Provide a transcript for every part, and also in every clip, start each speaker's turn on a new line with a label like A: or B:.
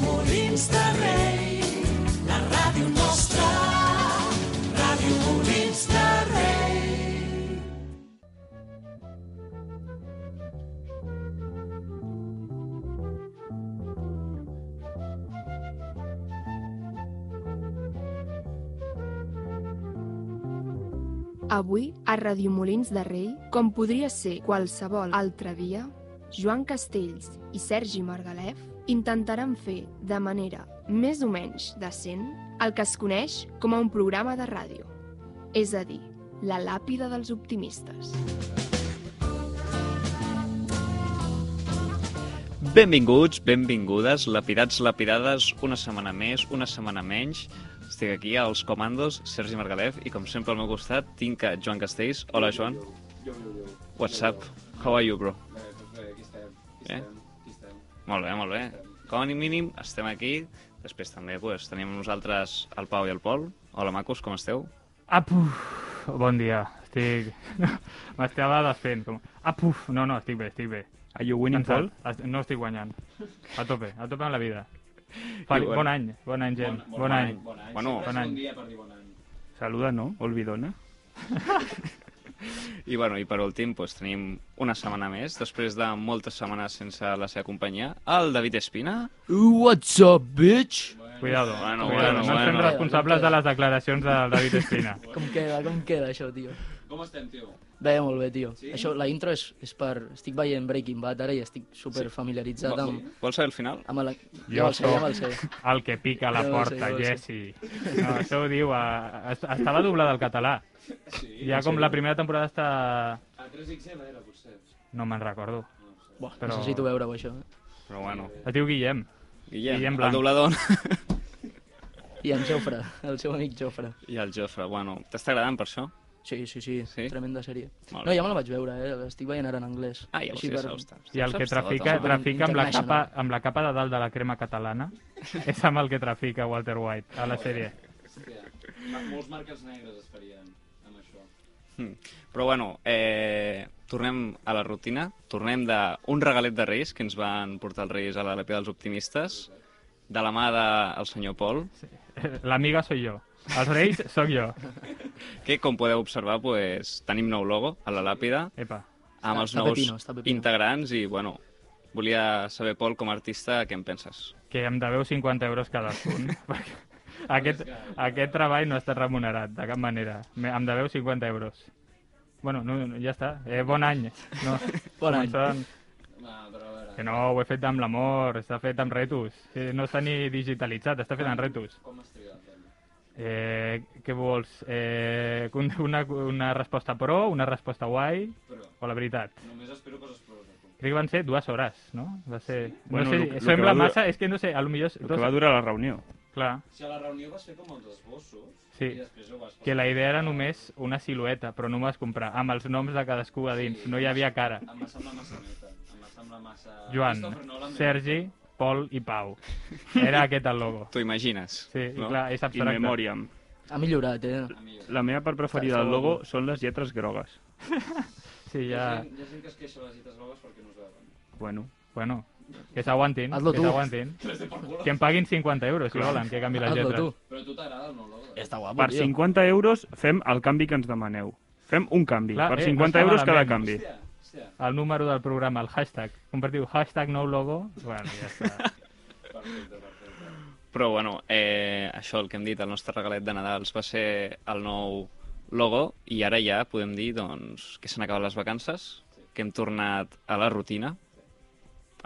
A: Temps de rei, la ràdio nostra, Ràdio Molins de Rei.
B: Avui, a Radiomolins de Rei, com podria ser qualsevol altre dia, Joan Castells i Sergi Margalef intentaran fer, de manera més o menys decent, el que es coneix com a un programa de ràdio, és a dir, la làpida dels optimistes.
C: Benvinguts, benvingudes, lapidats, lapidades, una setmana més, una setmana menys. Estic aquí als comandos, Sergi Margalef, i com sempre al meu costat tinc a Joan Castells. Hola, Joan.
D: Yo, yo, yo.
C: What's
D: Yo,
C: up? How are you, bro?
D: yo. Bé, doncs bé, aquí estem. Aquí
C: Eh?
D: estem. Aquí estem.
C: Molt bé, molt bé. Com a mínim estem aquí. Després també pues, tenim nosaltres el Pau i el Pol. Hola, macos, com esteu?
E: Apuf! Bon dia. Estic... M'estava desfent. Com... Apuf! No, no, estic bé, estic bé.
F: Are you winning, Paul?
E: Cansat. Est- No estic guanyant. A tope, a tope amb la vida. Fel...
C: bueno.
E: Bon any, bon any, gent. Bon, bon, any.
D: Bon any.
C: Bueno.
E: Bon
D: Sempre és
E: any.
D: un dia per dir bon any.
F: Saluda, no? Olvidona.
C: I, bueno, i per últim, pues, tenim una setmana més, després de moltes setmanes sense la seva companyia, el David Espina.
G: What's up, bitch?
E: Cuidado.
C: Bueno,
E: Cuidado.
C: bueno,
E: no ens fem
C: bueno.
E: responsables de les declaracions del David Espina.
G: Com queda, com queda això, tio?
D: Com estem, tio?
G: Deia molt bé, tio.
D: Sí?
G: Això, la intro és, és per... Estic veient Breaking Bad ara i estic super familiaritzat
C: Vol-
G: amb...
C: Vols saber el final?
G: amb el...
E: Jo
G: ja me'l sé,
E: sóc-
G: ja me'l sé.
E: El que pica a la
G: Ja ho sé,
E: porta,
G: ja ho sé.
E: Jesse. No, això ho diu... A... est- Estava doblada al català.
D: Sí.
E: Ja com la primera temporada està...
D: A 3XL era, potser.
E: No me'n recordo.
G: Buah,
E: Però-
G: Però... necessito veure-ho, això. eh?
C: Però bueno,
E: Es diu Guillem.
C: Guillem,
E: Guillem
C: Guillem
E: Blanc.
C: el doblador...
G: I en Jofre, el seu amic Jofre.
C: I el Jofre, bueno, t'està agradant per això?
G: Sí, sí, sí,
C: Sí?
G: tremenda sèrie.
C: Molt
G: No,
C: bé.
G: ja me la vaig veure, eh? L'estic veient ara en anglès.
C: Ah, ja ho sé, ja ho està.
E: I el que
C: Saps tot,
E: trafica,
C: home.
E: trafica amb, la
G: International.
E: capa, amb la capa de dalt de la crema catalana és amb el que trafica Walter White a la sèrie.
D: Hòstia. Ma- Molts marques negres es farien amb això.
C: Però bueno, eh, tornem a la rutina, tornem d'un regalet de Reis que ens van portar els Reis a la Lepe dels Optimistes, de la mà del el senyor Pol,
E: L'amiga soy jo. Els reis sóc jo.
C: que, com podeu observar, pues, tenim nou logo a la làpida,
E: Epa.
C: amb els
G: està
C: nous
G: pepino, està pepino.
C: integrants, i bueno, volia saber, Pol, com a artista, què en penses?
E: Que em deveu 50 euros cadascun. perquè aquest, aquest treball no està remunerat, de cap manera. Me- Em deveu 50 euros. Bueno, no, no, ja està. Eh, bon any. No,
G: Bon any.
E: començant-
D: Va, però a
E: Que
D: veure,
E: no, ho he fet amb l'amor, està fet amb retus. Eh, no està ni digitalitzat, està fet amb retus.
D: com has triat, Dani?
E: Eh, què vols? Eh, un- una, una resposta pro, una resposta guai
D: Però
E: o la veritat?
D: només espero coses pros, tu.
E: Crec que van ser dues hores, no? Va ser...
F: Bueno,
E: no sé,
F: lo que- lo que
E: sembla
F: va durar-
E: massa, és que no sé, a lo millor...
F: El que va durar la reunió.
E: Clar,
D: Si a la reunió vas fer com els esbossos,
E: Sí.
D: i després ho vas...
E: que la idea era només una silueta, però no m'ho vas comprar, amb els noms de cadascú a dins, no hi havia cara.
D: Em va semblar massa neta. Em va semblar massa...
E: Joan,
D: Christopher Nolan eh? de
E: Sergi, Pol i Pau. Era aquest el logo.
C: T'ho imagines?
E: Sí, i
C: no?
E: clar, eh. és
F: In
E: abstracte.
F: memoriam.
G: Ha millorat, eh?
D: Nolan. Amigo.
F: La meva part preferida del logo són les lletres grogues.
E: Sí,
D: Hi ha,
E: ja...
D: gent, hi ha gent que es queixa de les dites grogues perquè no es veuen.
F: Bueno,
E: Bueno, que s'aguantin,
G: Hazlo
E: que
G: tu.
E: s'aguantin.
D: Que les té per culo.
E: Que em paguin 50 euros, si volen, que canvi les
G: Hazlo tu.
E: lletres.
D: Però a tu t'agrada el nou logo? eh?
G: Està
E: Ah,
G: guapo,
F: per
G: tio.
F: 50 euros fem el canvi que ens demaneu. Fem un canvi.
E: Clar, eh,
F: per
E: no
F: 50
E: està
F: euros cada
E: malament.
F: canvi.
D: Hòstia, hòstia.
E: El número del programa, el hashtag. Compartiu hashtag nou logo. Bueno, ja està.
D: Perfecte, perfecte.
C: Però bueno, eh, això el que hem dit, el nostre regalet de Nadals va ser el nou logo i ara ja podem dir doncs, que s'han acabat les vacances, que hem tornat a la rutina.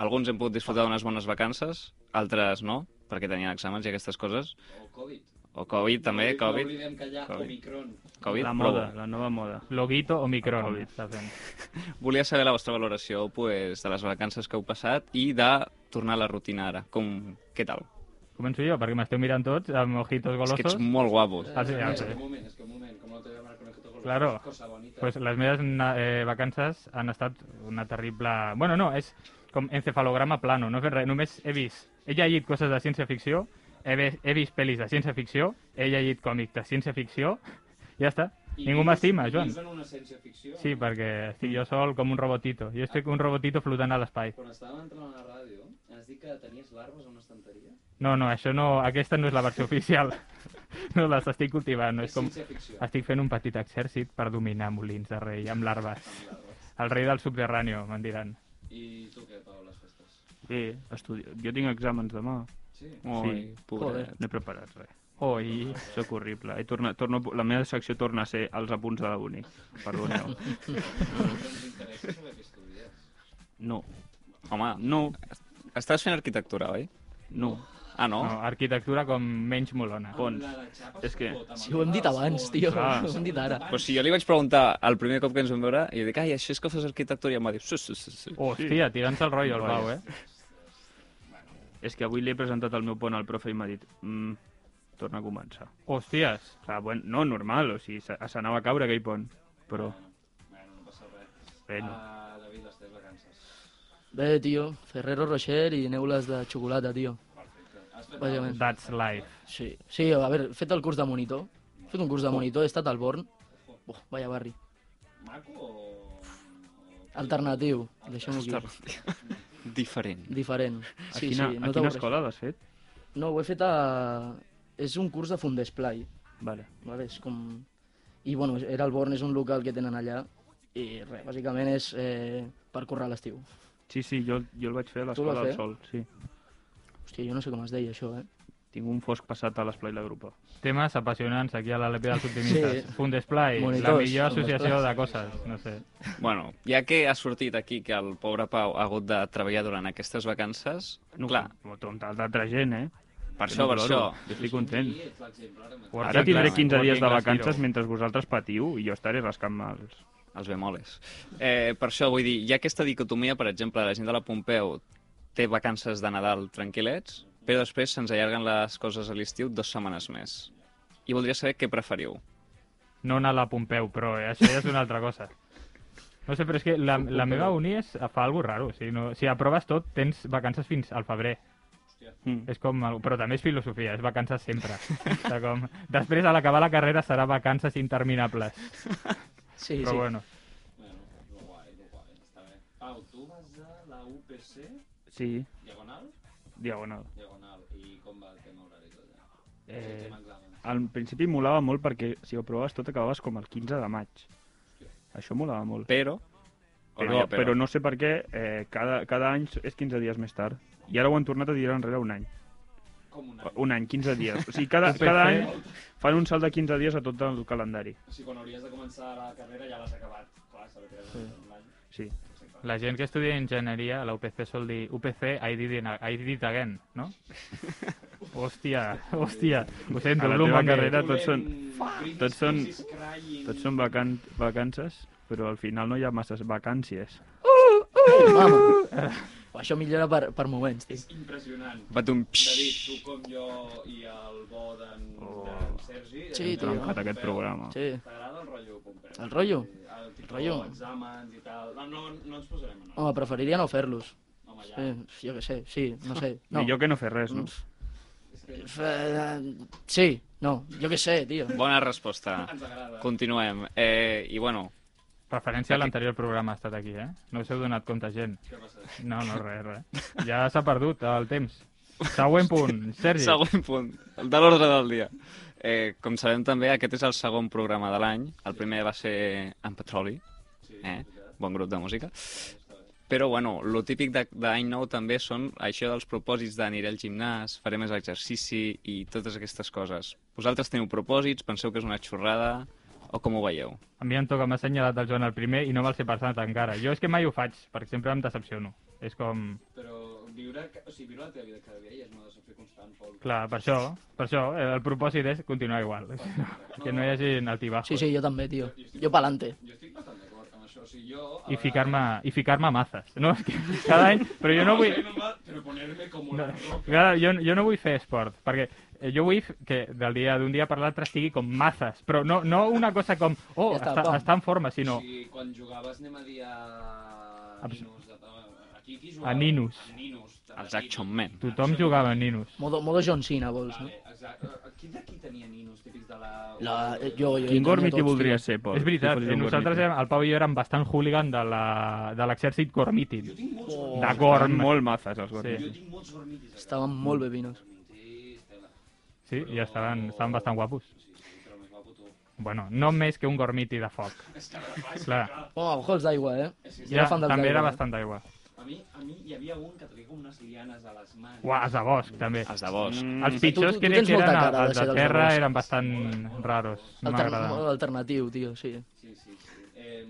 C: Alguns hem pogut disfrutar d'unes bones vacances, altres no, perquè tenien exàmens i aquestes coses.
D: O Covid.
C: O Covid també,
D: no, No
C: Covid.
D: oblidem que hi ha
C: Covid.
D: Omicron.
C: Covid.
F: La
C: però
F: moda, la nova moda.
E: Loguito o micron.
F: Covid.
E: Està fent.
C: Volia saber la vostra valoració pues, de les vacances que heu passat i de tornar a la rutina ara. Com, què tal?
E: Començo jo, perquè m'esteu mirant tots amb ojitos
C: És que
E: golosos.
C: ets molt guapo.
E: Ah, sí, ja ho
D: es que
E: sé.
D: un moment, es que un moment, com no te voy a llamar con el que toco los
E: Claro.
D: ojos, Cosa bonita.
E: Pues les meves na- eh, vacances han estat una terrible... Bueno, no, és com encefalograma plano, no he fet res, només he vist... He llegit coses de ciència-ficció, he, ve- he vist pel·lis de ciència-ficció, he llegit còmic de ciència-ficció, ja està. Ningú m'estima, Joan.
D: Vius en una ciència-ficció.
E: Sí, perquè estic jo sol com un robotito. Jo estic un robotito flotant a l'espai.
D: Quan estàvem entrant a la ràdio, has dit que tenies larves a una estanteria?
E: No, no, això no... Aquesta no és la versió oficial. No, les estic cultivant. No és
D: és
E: com...
D: ciència-ficció.
E: Estic fent un petit exèrcit per dominar Molins de Rei amb larves. El rei del subterrani, me'n diran.
D: I tu què, Pau, les festes?
F: Bé, estudio. Jo tinc exàmens demà.
D: Sí.
C: Ui,
F: Sí.
C: pobret.
F: No he preparat res.
E: Oi,
F: Sóc horrible. He tornat, torno, la meva secció torna a ser els apunts de la uni. Perdoneu.
D: Doncs interessa saber què estudies.
F: No,
C: Home,
F: no,
C: estàs fent arquitectura, oi?
F: no.
C: Ah, no?
E: no, arquitectura com menys molona.
F: Fons.
D: La de xapa
F: És que-
D: s'explota,
G: Si ho hem dit abans, tio.
F: Ah.
G: ho hem dit ara.
C: Però si jo li vaig preguntar el primer cop que ens vam veure, i jo dic, ai, això és que fas arquitectura, i em va dir, sí, sí, sí, sí.
E: Hòstia, tirant-se el rotllo, el
F: Vaja.
E: Pau, eh?
F: És que avui li he presentat el meu pont al profe i m'ha dit mm, torna a començar.
E: Hòsties.
F: O sigui, bueno, no, normal, o sigui, se- s'anava a caure aquell pont. Però,
D: Bueno, no passa res.
F: bé, no.
D: Ah, David, les teves vacances.
G: Bé, tio, Ferrero Rocher i neules de xocolata, tio. Bàsicament.
E: That's life.
G: Sí, sí, a veure, he fet el curs de monitor. He fet un curs de monitor, he estat al Born. Uf, vaya barri.
D: Maco o...
G: Alternatiu, deixem-ho
C: Ostres,
G: aquí.
C: Diferent.
G: Diferent.
F: A
G: Sí,
F: quina,
G: sí,
F: a
G: no
F: quina
G: t'avorreix.
F: escola l'has fet?
G: No, ho he fet a... És un curs de Fundesplai,
F: Vale.
G: vale? és com... I bueno, era el Born, és un local que tenen allà i res, bàsicament és eh, per currar a l'estiu.
F: Sí, sí, jo, jo el vaig fer
G: Tu el
F: a l'escola
G: vas
F: del
G: fer?
F: Sol, sí.
G: Hòstia, jo no sé com es deia això, eh?
F: Tinc un fosc passat a l'esplai la grupa.
E: Temes apassionants aquí a la Lepi dels Optimistes.
G: Sí.
E: Sí. Fundesplai, la
G: Monitors,
E: millor associació
G: monitors.
E: de coses, no sé.
C: Bueno, ja que ha sortit aquí que el pobre Pau ha hagut de treballar durant aquestes vacances, no, clar,
F: Com, com tal d'altra gent, eh?
C: per això, per això,
F: Jo estic content.
D: Qui ets l'exemple ara mateix?
E: Working
F: Ara tindré
E: class-
F: 15 dies
E: working
F: de
E: class
F: vacances
E: hero.
F: mentre vosaltres patiu i jo estaré rascant els...
C: els bemoles. Eh, per això vull dir, hi ha aquesta dicotomia, per exemple, la gent de la Pompeu té vacances de Nadal tranquil·lets, però després se'ns allarguen les coses a l'estiu dues setmanes més. I voldria saber què preferiu.
E: No anar a la Pompeu, però eh, això ja és una altra cosa. No sé, però és que la, la meva uni és, fa alguna raro. O sigui, no, si aproves tot, tens vacances fins al febrer.
F: Mm.
E: És com, el- però també és filosofia, és vacances sempre. O sigui, com, després, a l'acabar la carrera, serà vacances interminables.
G: Sí,
E: Però
G: sí.
E: bueno,
D: Bueno, lo guai, lo guai, està bé. Pau, tu vas a la UPC,
F: Sí,
D: diagonal?
F: diagonal.
D: Diagonal. I com va el tema horari tot allà? El
F: Eh,
D: tema examen.
F: al principi molava molt perquè si ho provaves tot acabaves com el 15 de maig. Això molava molt.
C: Però... o
F: Però,
C: no hi ha
F: però. però no sé per què eh, cada, cada any és 15 dies més tard. I ara ho han tornat a tirar enrere un any.
D: Com un any.
F: Un any, 15 dies. O sigui, cada, cada any fan un salt de 15 dies a tot el calendari.
D: O sigui, quan hauries de començar la carrera ja l'has acabat. Clar, se l'ha tirat un any.
F: Sí.
E: la gent que estudia enginyeria a la UPC sol dir UPC, I did, it, I did it again, no? Hòstia, hòstia, ho sento,
F: A la
E: Bloomberg.
F: teva carrera
D: Volem
F: tots són,
D: Britney
F: tots són-
D: Spears crying.
F: tots són vacan vacances, però al final no hi ha masses vacàncies.
G: Mama. Això millora per, per moments, tio.
D: És impressionant.
C: Va d'un...
D: David, tu com jo i el bo d'en
F: Oh.
D: d'en Sergi...
G: Sí,
D: eh,
G: tio.
F: Trencat
D: Pompeu.
F: aquest programa.
G: Sí.
D: T'agrada el rotllo, Pompeu?
G: El rotllo?
D: El tipus
G: rotllo?
D: d'exàmens i tal. No, no, no ens posarem en
G: Home, preferiria no fer-los.
D: Home, ja.
G: Sí, jo què sé, sí, no sé. No.
F: Millor que no fer res, no?
D: És que
G: Eh, Sí, no, jo què sé, tio.
C: Bona resposta.
D: ens agrada.
C: Continuem. Eh, I bueno,
E: Referència a l'anterior programa ha estat aquí, eh? No us heu donat compte, gent.
D: Què passa?
E: No, no, res, res. Ja s'ha perdut el temps. Següent punt, Sergi.
C: Següent punt, el de l'ordre del dia. Eh, com sabem també, aquest és el segon programa de l'any. El primer va ser En Petroli,
D: Sí,
C: eh?
D: és veritat.
C: bon grup de música.
D: Està bé.
C: Però bueno, lo típic de- d'any nou també són això dels propòsits d'aniré al gimnàs, faré més exercici i totes aquestes coses. Vosaltres teniu propòsits, penseu que és una xorrada o com ho veieu?
E: A mi em toca, m'ha assenyalat el Joan el primer i no me'l sé passat encara. Jo és que mai ho faig, perquè sempre em decepciono. És com...
D: Però viure, ca- o sigui, viure la teva vida cada dia ja és una decepció constant, Pol.
E: Clar, per això, per això eh, el propòsit és continuar igual. Que no hi hagi altibajos.
G: Sí,
D: pues,
G: sí, jo també, tio. Jo pa'lante.
D: Jo estic bastant d'acord amb això. O sigui, jo... a
E: I
D: vegades-
E: ficar-me i ficar-me a mazes. No, és que cada any... Però jo no
D: o
E: vull...
D: sigui, no em va- Però ponerme com una roca.
E: Clar, jo, jo no vull fer esport, perquè eh, jo vull que del dia d'un dia per l'altre sigui com mazes, però no, no una cosa com, oh,
G: Ja està,
E: està,
G: pam.
E: està en forma, sinó...
D: O sigui, quan jugaves anem a dir a...
E: Abs-
D: Ninos, de... a- a- aquí Qui
E: A
D: jugava?
E: Ninus.
D: A Ninus. de
C: Els
D: la
C: Action
D: Ninus.
C: Men.
E: Tothom jugava a Ninus.
G: Modo, modo John Cena, vols, no?
D: Vale, exacte. Eh, Qui de qui tenia Ninus típics de la...
G: La, eh, jo, jo,
F: Quin
G: jo tenia
F: Gormiti
G: tots,
F: voldria
G: tio.
F: ser, Pol?
E: És veritat,
F: Si fossis
E: eh,
F: un
E: nosaltres,
F: Gormiti.
E: érem, el Pau i jo érem bastant hooligan de la- de l'exèrcit Gormitin.
D: Jo tinc molts
G: Oh.
D: gormitis.
E: De Gorm.
F: Estaven molt mazes, els Gormiti.
D: Jo tinc molts gormitis. a
G: Estaven
E: Mm.
G: molt bevinos.
D: casa. Gormitis, tela.
E: Sí, i estaven, estaven bastant guapos.
D: Sí, sí, però més guapo tu.
E: Bueno, no més que un Gormiti de foc.
D: És que ara fa, és
E: Clar.
D: que clar.
G: Oh, ojo els d'aigua, eh?
D: És que és-
G: Era
E: Ja,
G: fan del
E: també
G: Gaire,
E: era
G: eh?
E: bastant d'aigua.
D: A mi, a mi hi havia un que tenia com unes lianes a les mans.
E: Uah, els de bosc, també.
C: Els de bosc.
F: Mm,
E: Els
G: Tu-
E: pitjors
G: tu
E: que,
G: tens
E: que
G: molta
E: eren
G: cara de
E: els
G: ser
E: de
G: dels
E: terra
G: bosc.
E: eren bastant raros. No
G: Altern
E: m'agradaven.
G: alternatiu, tio, sí.
D: Sí, sí, sí. Eh,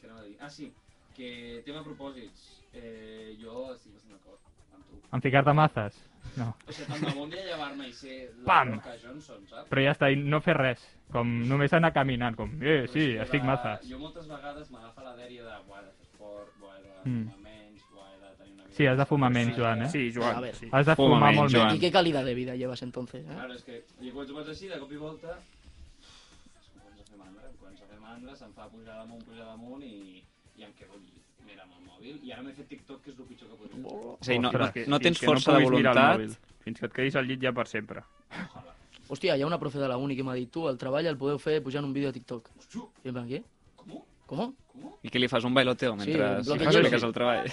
D: què anava a dir? Ah, sí, que tema propòsits. Eh, jo estic bastant d'acord amb tu.
E: En ficar-te mazes? No.
D: O sigui, tant de bon dia llevar-me i ser la
E: Pam!
D: Roca Johnson, saps?
E: Però ja està, i no fer res. Com només anar caminant, com, eh, sí, estic mazes.
D: Jo moltes vegades m'agafa la dèria de buah, he de fer esport, buah, he de
E: Mm.
D: fumar menys, buah, he de tenir una vida...
E: Sí, has de fumar
D: sana".
E: menys, Joan, eh?
F: Sí,
G: A
F: Joan,
G: veure.
F: sí.
E: Has de
C: Fuma
E: fumar
C: menys,
E: molt
C: Joan.
E: més.
G: I què calidad de vida llevas entonces, eh?
D: Claro, és que i quan tu fas així, de cop i volta... és que Quan se fa mandra, quan se fa mandra, se'm fa pujar damunt, pujar damunt i, i em quedo allí. Mira amb el mòbil. I ara m'he fet TikTok, que és el pitjor que podria fer.
C: És a dir, no, no,
E: Ostres,
C: no tens
F: Fins que
C: força de
F: puguis mirar el
C: voluntat.
F: mòbil. Fins que et quedis al llit ja per sempre.
G: Hòstia, hi ha una profe de la uni que m'ha dit tu, el treball el podeu fer pujant un vídeo a TikTok.
D: Hòstia,
G: I em van, què?
D: com?
G: Com?
D: Com?
C: I què li fas? Un bailoteo mentre
G: un
C: sí,
G: bloqueig,
C: expliques
G: sí.
C: el treball?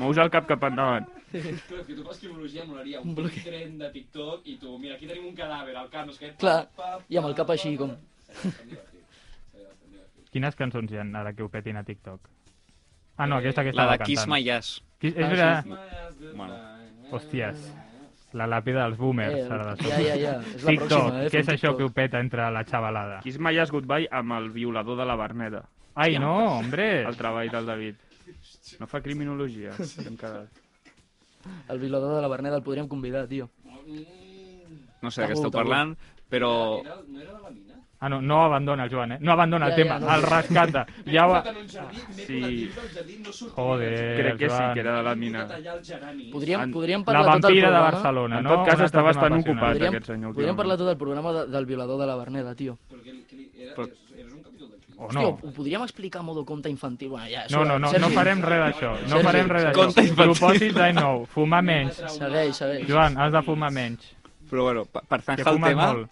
F: Mous el cap cap endavant.
D: Clar, que tu fas criminologia, m'agradaria un
G: Un bloque.
D: bloc tren de TikTok i tu, mira, aquí tenim un cadàver, el cap, no sé què... pa,
G: Clar,
D: pa,
G: i amb el
D: pa,
G: cap així,
D: pa,
G: com-
D: pa. Seria bastant divertit, seria bastant divertit.
E: Quines cançons hi ha ara que ho petin a TikTok? Ah, no, aquesta que
C: La
E: estava
C: de Kiss My
E: cantant.
C: Ass.
E: Kiss
G: Ah,
E: És veritat,
C: Bueno.
D: eh?
E: Hòsties. la làpida dels boomers,
G: Eh,
E: ara
G: ja,
E: de sobte.
G: ja, ja. És la
E: TikTok,
G: pròxima, eh? fer
E: què és
G: un
E: això
G: TikTok.
E: que ho peta entre la xavalada?
F: Kiss My Ass Goodbye amb el violador de la Berneda.
E: Ai, no, hombre!
F: El treball del David. No fa criminologia. hem quedat.
G: El violador de la Berneda el podríem convidar, tio.
D: Mm.
C: No sé de què
G: Tabú,
C: esteu
G: tabú.
C: parlant, però...
D: Era, no era de la mina?
E: Ah, no, no abandona el Joan, eh? No abandona el
G: Ja,
E: tema,
G: ja, no.
E: el rescata. Ja ho...
D: M'he posat en un jardí, m'he
F: Ah, sí.
D: posat dins del jardí, no sortiré.
E: Joder,
F: Crec que sí,
E: Eh, Joan.
F: que era de la mina.
D: He tallar els geranis.
G: Podríem,
F: En-
G: podríem
E: La
G: parlar tot el
E: vampira de
G: programa...
E: Barcelona,
F: En
E: no?
F: tot cas,
E: Un altre
F: està
E: tema
F: bastant
E: apassionant.
F: ocupat.
G: Podríem,
F: aquest
G: podríem
F: senyor, últimament.
G: parlar tot el programa de, del violador de la Berneda, tio.
D: Però que, que li, era,
F: Però-
D: era un capítol de crim.
E: O
G: Tio,
E: no?
G: ho podríem explicar a modo conte infantil? Bueno, ja, és
E: No,
G: igual.
E: no, no, no
G: Sergi,
E: farem res d'això. No
G: Sergi,
E: farem res
C: Conte
E: d'això.
C: infantil.
E: Propòsit d'any nou, fumar menys.
G: Segueix, segueix.
E: Joan, has de fumar menys.
C: Però bueno, pa- per
E: Que
C: tancar el
E: fumes
C: tema
E: molt.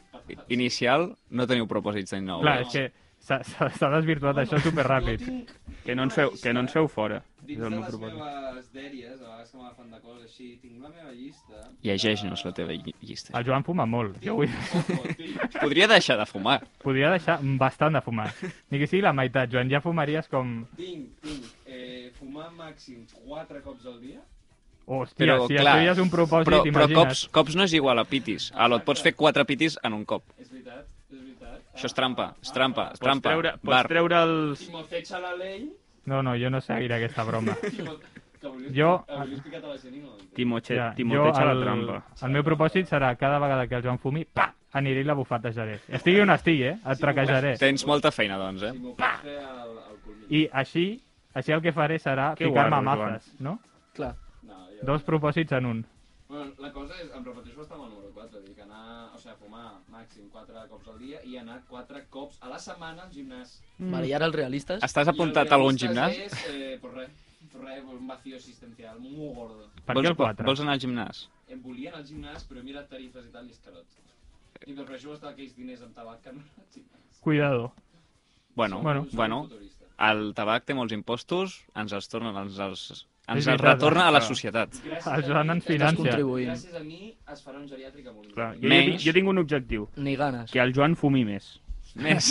C: inicial, no teniu propòsits d'any nou. eh?
E: Clar, és que s'ha- s'ha s'ha desvirtuat això superràpid.
F: Que no ens feu, que no ens feu fora. És
D: Dins
F: el
D: de
F: meu
D: les
F: propòsit.
D: meves dèries, a vegades que m'agafen de coses així, tinc la meva llista...
C: Llegeix-nos la teva lli- llista.
E: El Joan fuma molt. Jo vull...
D: Ojo, tinc...
C: Podria deixar de fumar.
E: Podria deixar bastant de fumar. Ni que sigui la meitat, Joan. Ja fumaries com...
D: Tinc, tinc, eh, fumar màxim 4 cops al dia.
E: Hòstia,
C: Però,
E: si
C: clar,
E: això ja és un propòsit,
C: però, però
E: imagina't.
C: cops, cops no és igual a pitis. Alò, et pots fer quatre pitis en un cop.
D: És veritat, és veritat.
C: Això és trampa, és trampa, és
F: Pots
C: trampa.
F: treure,
C: Bar.
F: pots treure els...
D: Timoteig a la ley...
E: No, no, jo no seguiré aquesta broma.
D: Timote... Que volia,
E: Jo-
D: Que volia explicar a la gent i no.
F: Timochet,
E: Ja,
F: Timoteig a la
E: el-
F: trampa.
E: El meu propòsit serà cada vegada que el Joan fumi, pa, aniré i la bufetejaré. Estigui on estigui, eh? Et traquejaré.
C: Tens molta feina, doncs,
D: Si
C: eh?
D: m'ho pots fer al, al culmini.
E: I així, així el que faré serà
F: Que
E: ficar-me
F: guarro, Joan.
E: mafes, no?
G: Clar,
D: No, jo...
E: Dos propòsits en un.
D: Bueno, la cosa és, em repeteixo bastant amb el número 4, dic anar, o sigui, fumar màxim 4 cops al dia i anar 4 cops a la setmana al gimnàs.
G: vale, i ara els realistes?
C: Estàs apuntat a algun gimnàs?
D: És, eh, pues res, pues res, un vacío existencial, molt gordo.
E: Per què
C: vols,
E: el 4?
C: vols anar al gimnàs?
D: Em volia anar al gimnàs, però he mirat tarifes i tal, i és carot. I prefereixo gastar aquells diners amb tabac que no anar al gimnàs.
E: Cuidado.
C: Bueno,
E: Bueno.
C: bueno,
D: Futurista.
C: el tabac té molts impostos, ens els torna, ens els, ens els
E: veritat,
F: eh?
C: retorna a la
E: això.
C: societat.
D: Gràcies
E: El
D: a
E: Joan
D: mi-
E: ens financia.
G: contribuint.
D: Gràcies a mi es farà un geriàtric amb un
F: Clar,
D: Clar,
F: jo, jo,
C: Menys.
F: tinc- jo tinc un objectiu,
G: Ni ganes.
F: que el Joan fumi més.
C: Més.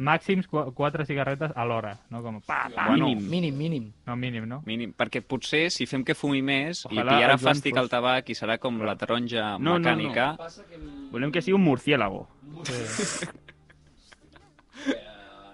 E: Màxims 4 cigarretes a l'hora, no? Com pa, pa.
C: Bueno,
F: Mínim.
G: Mínim, mínim.
E: No, mínim, no?
C: mínim. Perquè potser si fem que fumi més, li
F: Ojalà
C: pillarà
F: el Joan
C: fàstic
F: fos-
C: al tabac i serà com la taronja
F: No, no, no.
C: mecànica.
D: Passa que...
F: Volem que sigui un murciélago.
D: Eh,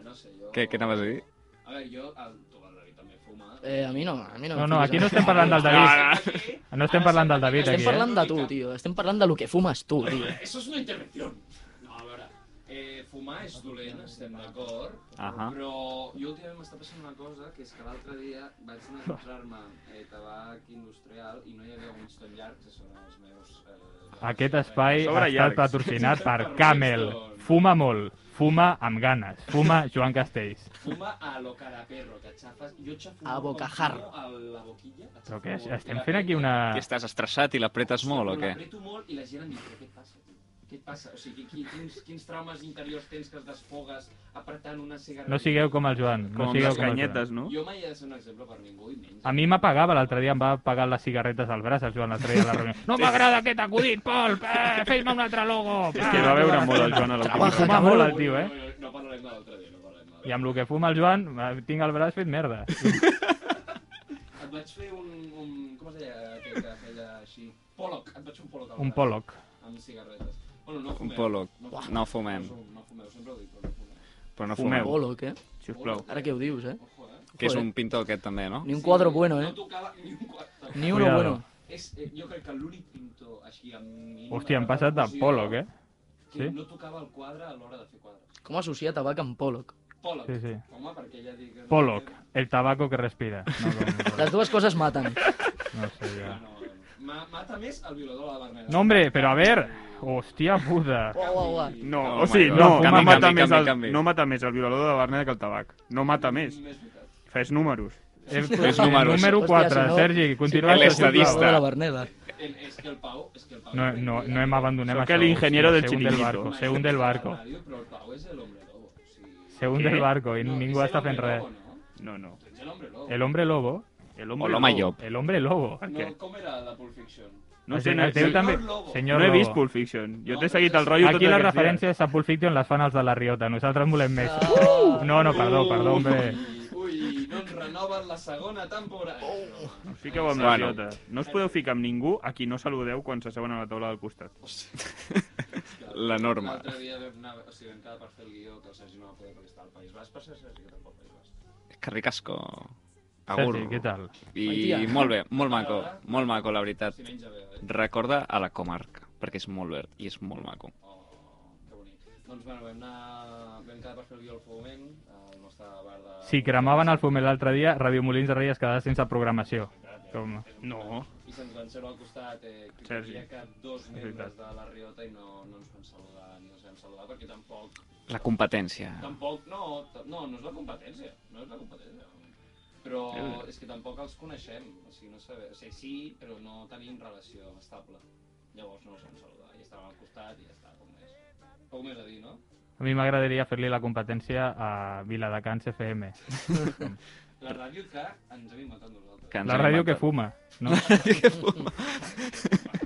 D: no sé, jo...
C: Què, què anaves a dir?
F: Ah.
D: A veure, jo, el, tu, el David també fuma.
G: Eh, a mi no, a mi no.
E: No,
G: em
E: no,
G: fiquis
E: aquí
G: en això.
E: no estem parlant del David.
D: Aquí-
E: No estem
D: ara
E: parlant
D: sembla
E: del David,
D: que-
E: aquí,
G: Estem
E: eh?
G: parlant de tu, tio. Estem parlant de lo que fumes tu, tio.
D: Eso es una intervención. No, a veure, eh, fumar és dolent, estem d'acord,
C: Ahà.
D: però jo últimament m'està passant una cosa, que és que l'altre dia vaig anar a comprar-me eh, tabac industrial i no hi havia uns tan llargs, que són els meus... Eh, Ah,
E: Aquest espai
F: A
E: ha
F: sobre
E: estat
F: llargs.
E: patrocinat per Camel. Fuma molt. Fuma amb ganes. Fuma Joan Castells.
D: Fuma a lo cara perro, que et xafes. Jo xafumo
G: A
D: com
G: bocajarro.
D: fumo A la boquilla. et
E: Però què?
D: xafo molt. I
E: Estem
D: la
E: fent aquí
D: preta-
E: una...
C: Què estàs estressat i l'apretes molt o
D: Però
C: què?
D: L'apreto molt i la gent em diu, però què et passa, tio? Què et passa? O sigui, qui, quins, quins traumes interiors tens que es desfogues apretant una cigarreta?
E: No sigueu com el Joan. No
F: Com amb
E: sigueu
F: les
E: com el Joan.
F: canyetes, no?
D: Jo mai he de ser un exemple per ningú i menys.
E: A mi m'apagava, l'altre dia em va apagar les cigarretes al braç, el Joan, l'altre dia a la reunió. No m'agrada aquest acudit, Pol! Eh, Fes-me un altre logo! eh,
F: És que va veure molt el Joan a la
G: Trabaja,
E: Fuma
G: cabrón.
E: molt el tio, eh?
D: No, no parlarem de l'altre dia, no parlarem de
E: I amb el que fuma el Joan, eh, tinc el braç fet merda.
D: Et vaig fer un... un com es deia aquell que feia així? Pollock. Et vaig fer un pollock al
E: Un
D: braç,
E: Pollock.
D: Amb cigarretes. Bueno, no fumeu.
C: Un polo.
D: No fumeu.
C: No fumem,
D: No, no fumeu, sempre ho dic, però no fumeu.
C: però no
F: Fumeu.
C: fumeu.
G: Polo, què?
F: Si us plau.
G: Ara què ho dius, eh?
D: Ojo, eh?
C: Que és
G: Joder.
C: un pintor aquest també, no?
G: Ni un quadro bueno,
D: No
G: eh?
D: tocava ni un quadre.
G: Ni uno
E: Cuidado.
G: bueno.
D: És, eh, jo crec que l'únic pintor així amb mínima
E: Hòstia, hem passat de
D: repercussió
E: Pollock, eh?
D: Que
E: Sí.
D: no tocava el quadre a l'hora de fer quadres.
G: Com associa tabac amb Pollock?
D: Pollock.
E: Sí, sí.
D: Home, perquè ja dic... que-
E: Pollock, el tabaco que respira. No, com-
G: Les dues coses maten.
E: no sé,
D: Ah,
E: ja.
D: no, no. Ma- Mata més el violador de la Berneda.
E: No, hombre, però a ver... Oh. Hòstia puta.
G: Uau, uau, uau.
F: No,
C: Oh
F: o
C: my
F: sigui,
C: God.
F: no,
E: Canvi,
F: no, mata
C: canvi,
F: més
C: canvi,
F: el,
C: canvi.
F: no mata més el violador de la Berneda que el tabac. No mata més.
D: Més veritat.
F: Fes números.
E: Eh,
C: Tres números.
E: Número
G: Hòstia,
E: 4,
G: si no-
E: Sergi, continua.
C: el
E: sisplau.
C: estadista.
G: De la Berneda.
D: El, és que el Pau... És eh? que el Pau
E: No, no, no hem abandonat
F: Sóc
E: això.
F: el ingeniero del
E: se hunde el
F: chiringuito.
E: barco, se hunde el barco.
D: Ràdio, però el Pau és el hombre lobo. O sigui...
E: Se hunde el
F: Què?
E: barco i
D: No,
E: ningú
D: és el
E: està fent
D: hombre
E: res.
D: lobo, No?
F: No, no.
D: Tu ets el hombre lobo.
E: El hombre lobo,
F: El
C: O l'home llop.
E: el hombre lobo.
D: No, com era la Pulp Fiction?
F: No,
E: El
F: sé,
E: se-
F: no,
E: el teu
F: no,
E: també...
D: Lobo.
E: Senyor
F: no he
E: Lobo.
F: vist Pulp Fiction. Jo
D: No,
F: t'he
D: però
F: seguit
D: és-
F: el rotllo
E: Aquí
F: tot
E: les
F: aquests dies.
E: referències a Pulp Fiction les fan els de la Riota, nosaltres en volem més.
G: Ah.
E: No, no, perdó, perdó, hombre.
D: Ui, ui, no ens renoven la segona temporada. Oh.
F: Us fiqueu amb
C: Bueno.
F: la idiota. No us podeu ficar amb ningú a qui no saludeu quan s'asseuen a la taula del costat.
E: eh.
C: La norma.
D: L'altre dia vam anar, o sigui, vam quedar per fer el guió que el Sergi no va poder perquè estava al País Basc, per ser Sergi que tampoc al País Basc.
C: Carricasco. Agur.
E: Sergi, què tal?
C: I
G: Mentia.
C: molt bé, molt maco, molt maco, la veritat.
D: Si menja bé, eh?
C: Recorda a la comarca, perquè és molt verd i és molt maco.
D: Oh, que bonic. Doncs, bueno, vam anar... Vam quedar per fer el guió al Foment, al nostre bar de...
E: Si cremaven el fumet l'altre dia, Radio Molins de Rei es quedava sense programació. Com...
F: No.
D: I se'ns van seure al costat, eh, que
F: Sergi.
D: hi havia cap dos membres
F: veritat.
D: de la Riota i no, no ens van saludar ni els vam saludar perquè tampoc...
C: La competència.
D: Tampoc, no, ta- no, no és la competència, no és la competència. Però és que tampoc els coneixem, o sigui, no sabem, o sigui, sí, però no tenim relació estable. Llavors no els vam saludar, i estàvem al costat i ja està, com més. Poc més a dir, no?
E: A mi m'agradaria fer-li la competència a Viladecans FM.
D: La ràdio que ens hem inventat nosaltres.
C: Que ens
E: La
C: hem
E: ràdio que
C: inventat.
E: fuma. No?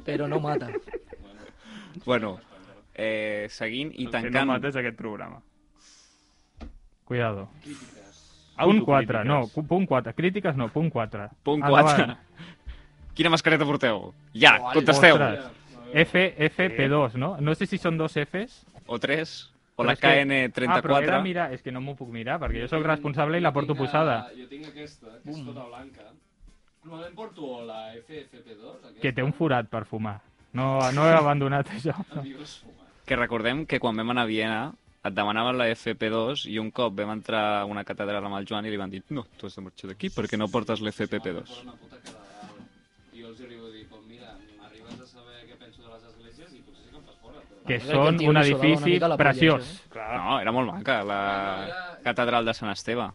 G: Però no mata.
D: Bueno,
C: Bueno, eh, seguint i
F: El que no
C: tancant...
F: mata és aquest programa.
E: Cuidado.
D: crítiques.
E: Punt 4,
F: Autocrítiques.
E: no, cu- punt 4. Crítiques no, punt 4.
C: Punt 4. Quina mascareta porteu? Ja, contesteu.
E: Ostres. F, FP2, no? No sé si són dos Fs. Ah,
C: O 3, o
E: però
C: la
E: és que- Ah, però he de
C: KN34.
E: mirar... És que no m'ho puc mirar, perquè jo sóc responsable i la porto
D: tinc, eh,
E: posada.
D: Jo tinc aquesta, que és tota blanca. Normalment porto la FFP2, aquesta.
E: Que té un forat per fumar. No, no he abandonat això.
D: Amigos fumats.
C: Que recordem que quan vam anar a Viena et demanaven la FP2 i un cop vam entrar a una catedral amb el Joan i li van dir no, tu has de marxar d'aquí perquè no portes
D: Si
C: l'FP2.
D: no, em posen la puta cara. I jo els arribo a dir, doncs mira, m'arribes a saber què penso de les esglésies i potser sí que em fas fora. Però...
E: Que
G: Crec que el
E: són
G: tio
E: un
G: li solava una
E: edifici
G: mica la polla,
E: preciós.
C: No, era molt maca, la catedral de Sant Esteve.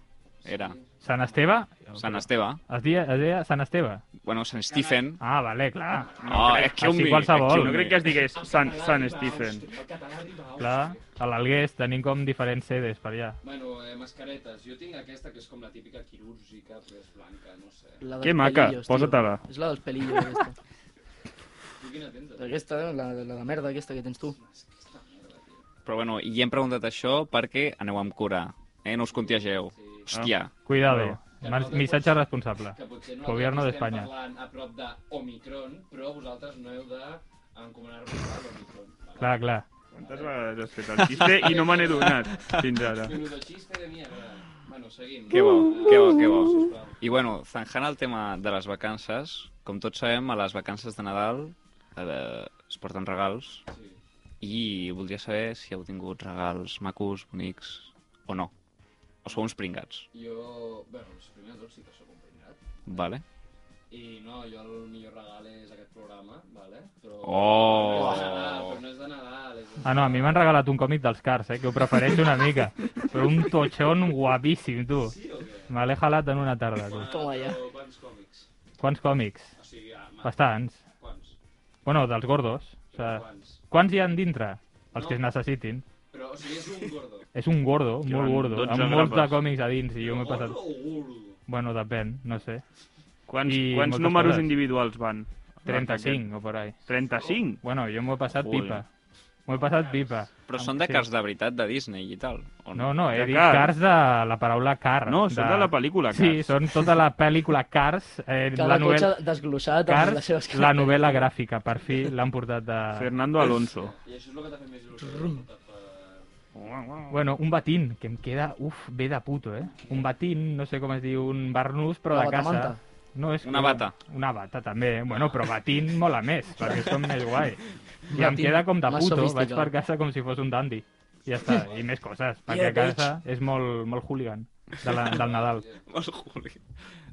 C: Era.
G: eh?
E: Sant Esteve?
C: Sant Esteve.
E: Es deia, es deia Sant Esteve?
C: Bueno, Sant Stephen.
E: Ah, vale, clar.
C: No, oh,
E: així qualsevol.
F: No crec que es digués San, San Stephen.
D: El català arriba a
E: Clar, a l'Algués tenim com diferents sedes per allà.
D: Bueno, eh, mascaretes. Jo tinc aquesta que és com la típica quirúrgica, però és blanca, no sé.
G: La dels
F: Que maca,
G: pelillos, tio.
F: posa-te-la.
G: És la dels pelillos, aquesta.
D: Tu quina tens? eh?
G: Aquesta, la, la de merda aquesta que tens tu.
D: És que aquesta merda, tio.
C: Però bueno, i hem preguntat això perquè aneu amb cura. Eh? No us contagieu. Hòstia.
E: Cuidado, mar- missatge responsable.
D: que potser no
E: Gobierno
D: estem
E: d'Espanya.
D: parlant a prop de Omicron, però vosaltres no heu de encomanar-vos a l'Omicron. vale?
E: Clar, clar.
F: Quantes vegades has fet el xiste i no me n'he donat fins ara.
D: Menudo xiste de mierda. Bueno, seguim.
C: Que bo,
D: Eh,
C: que bo, que bo.
D: sisplau.
C: I bueno, zanjant el tema de les vacances, com tots sabem, a les vacances de Nadal eh, es porten regals
D: Sí.
C: i voldria saber si heu tingut regals macos, bonics o no. O sou uns pringats,
D: Jo, bueno, els primers dos sí que sóc un pringat.
C: vale?
D: I I no, jo el millor regal és aquest programa, vale? Però...
C: Oh!
D: Però no és de Nadal, però no és de Nadal. És...
E: Ah, no, a mi m'han regalat un còmic dels Cars, eh, que ho prefereixo una mica. Però un totxon guapíssim, tu.
D: Sí o què?
E: Me l'he jalat en una tarda, tu.
G: Toma ja.
D: Però Quants còmics?
E: Quants còmics?
D: O sigui, ah, ma-
E: Bastants.
D: Quants?
E: Bueno, dels gordos. O
D: Però
E: sigui,
D: quants?
E: quants hi han dintre? Els que es
D: No.
E: necessitin.
D: Però, o sigui, és un gordo.
E: És un gordo,
F: Que
E: molt
F: van
E: gordo,
F: 12
E: amb molts de
F: grapes.
E: còmics a dins i jo m'he
D: Gordo
E: passat...
D: o gordo?
E: Bueno, depèn, no sé.
F: Quants,
E: I
F: quants
E: moltes
F: números
E: coses.
F: individuals van?
E: 35 o por ahí.
F: 35?
E: Bueno, jo m'ho he passat
F: Joder.
E: pipa. M'ho he passat pipa.
C: Però són de
E: Sí.
C: cars de veritat de Disney i tal, o no?
E: No, no, he
F: De
E: dit
F: Cars.
E: Cars de la paraula car.
F: No, són de la pel·lícula,
E: Sí,
F: Cars.
E: són tota la pel·lícula Cars, eh,
G: Cada
E: la
G: cotxe
E: novel·la
G: desglossat amb les seves
E: Cars, la novel·la gràfica, per fi l'han portat de...
F: Fernando Alonso.
D: I això és el que t'ha fet més il·lusió. Per...
E: Bueno, un batín, que em queda, uf, ve de puto, eh? Un batín, no sé com es diu, un barnús, però
G: La
E: de casa.
G: batamanta.
E: No, és
C: Una
E: com-
C: bata.
E: Una bata, també. Bueno, però batín mola més, perquè és com més guai. I em
G: Batín,
E: queda com de
G: més
E: puto, vaig
G: sofisticado.
E: per casa com si fos un dandy. I ja està, i més coses, perquè
G: Yeah,
E: a casa és molt, molt hooligan de la, del Nadal.
C: Molt Juli.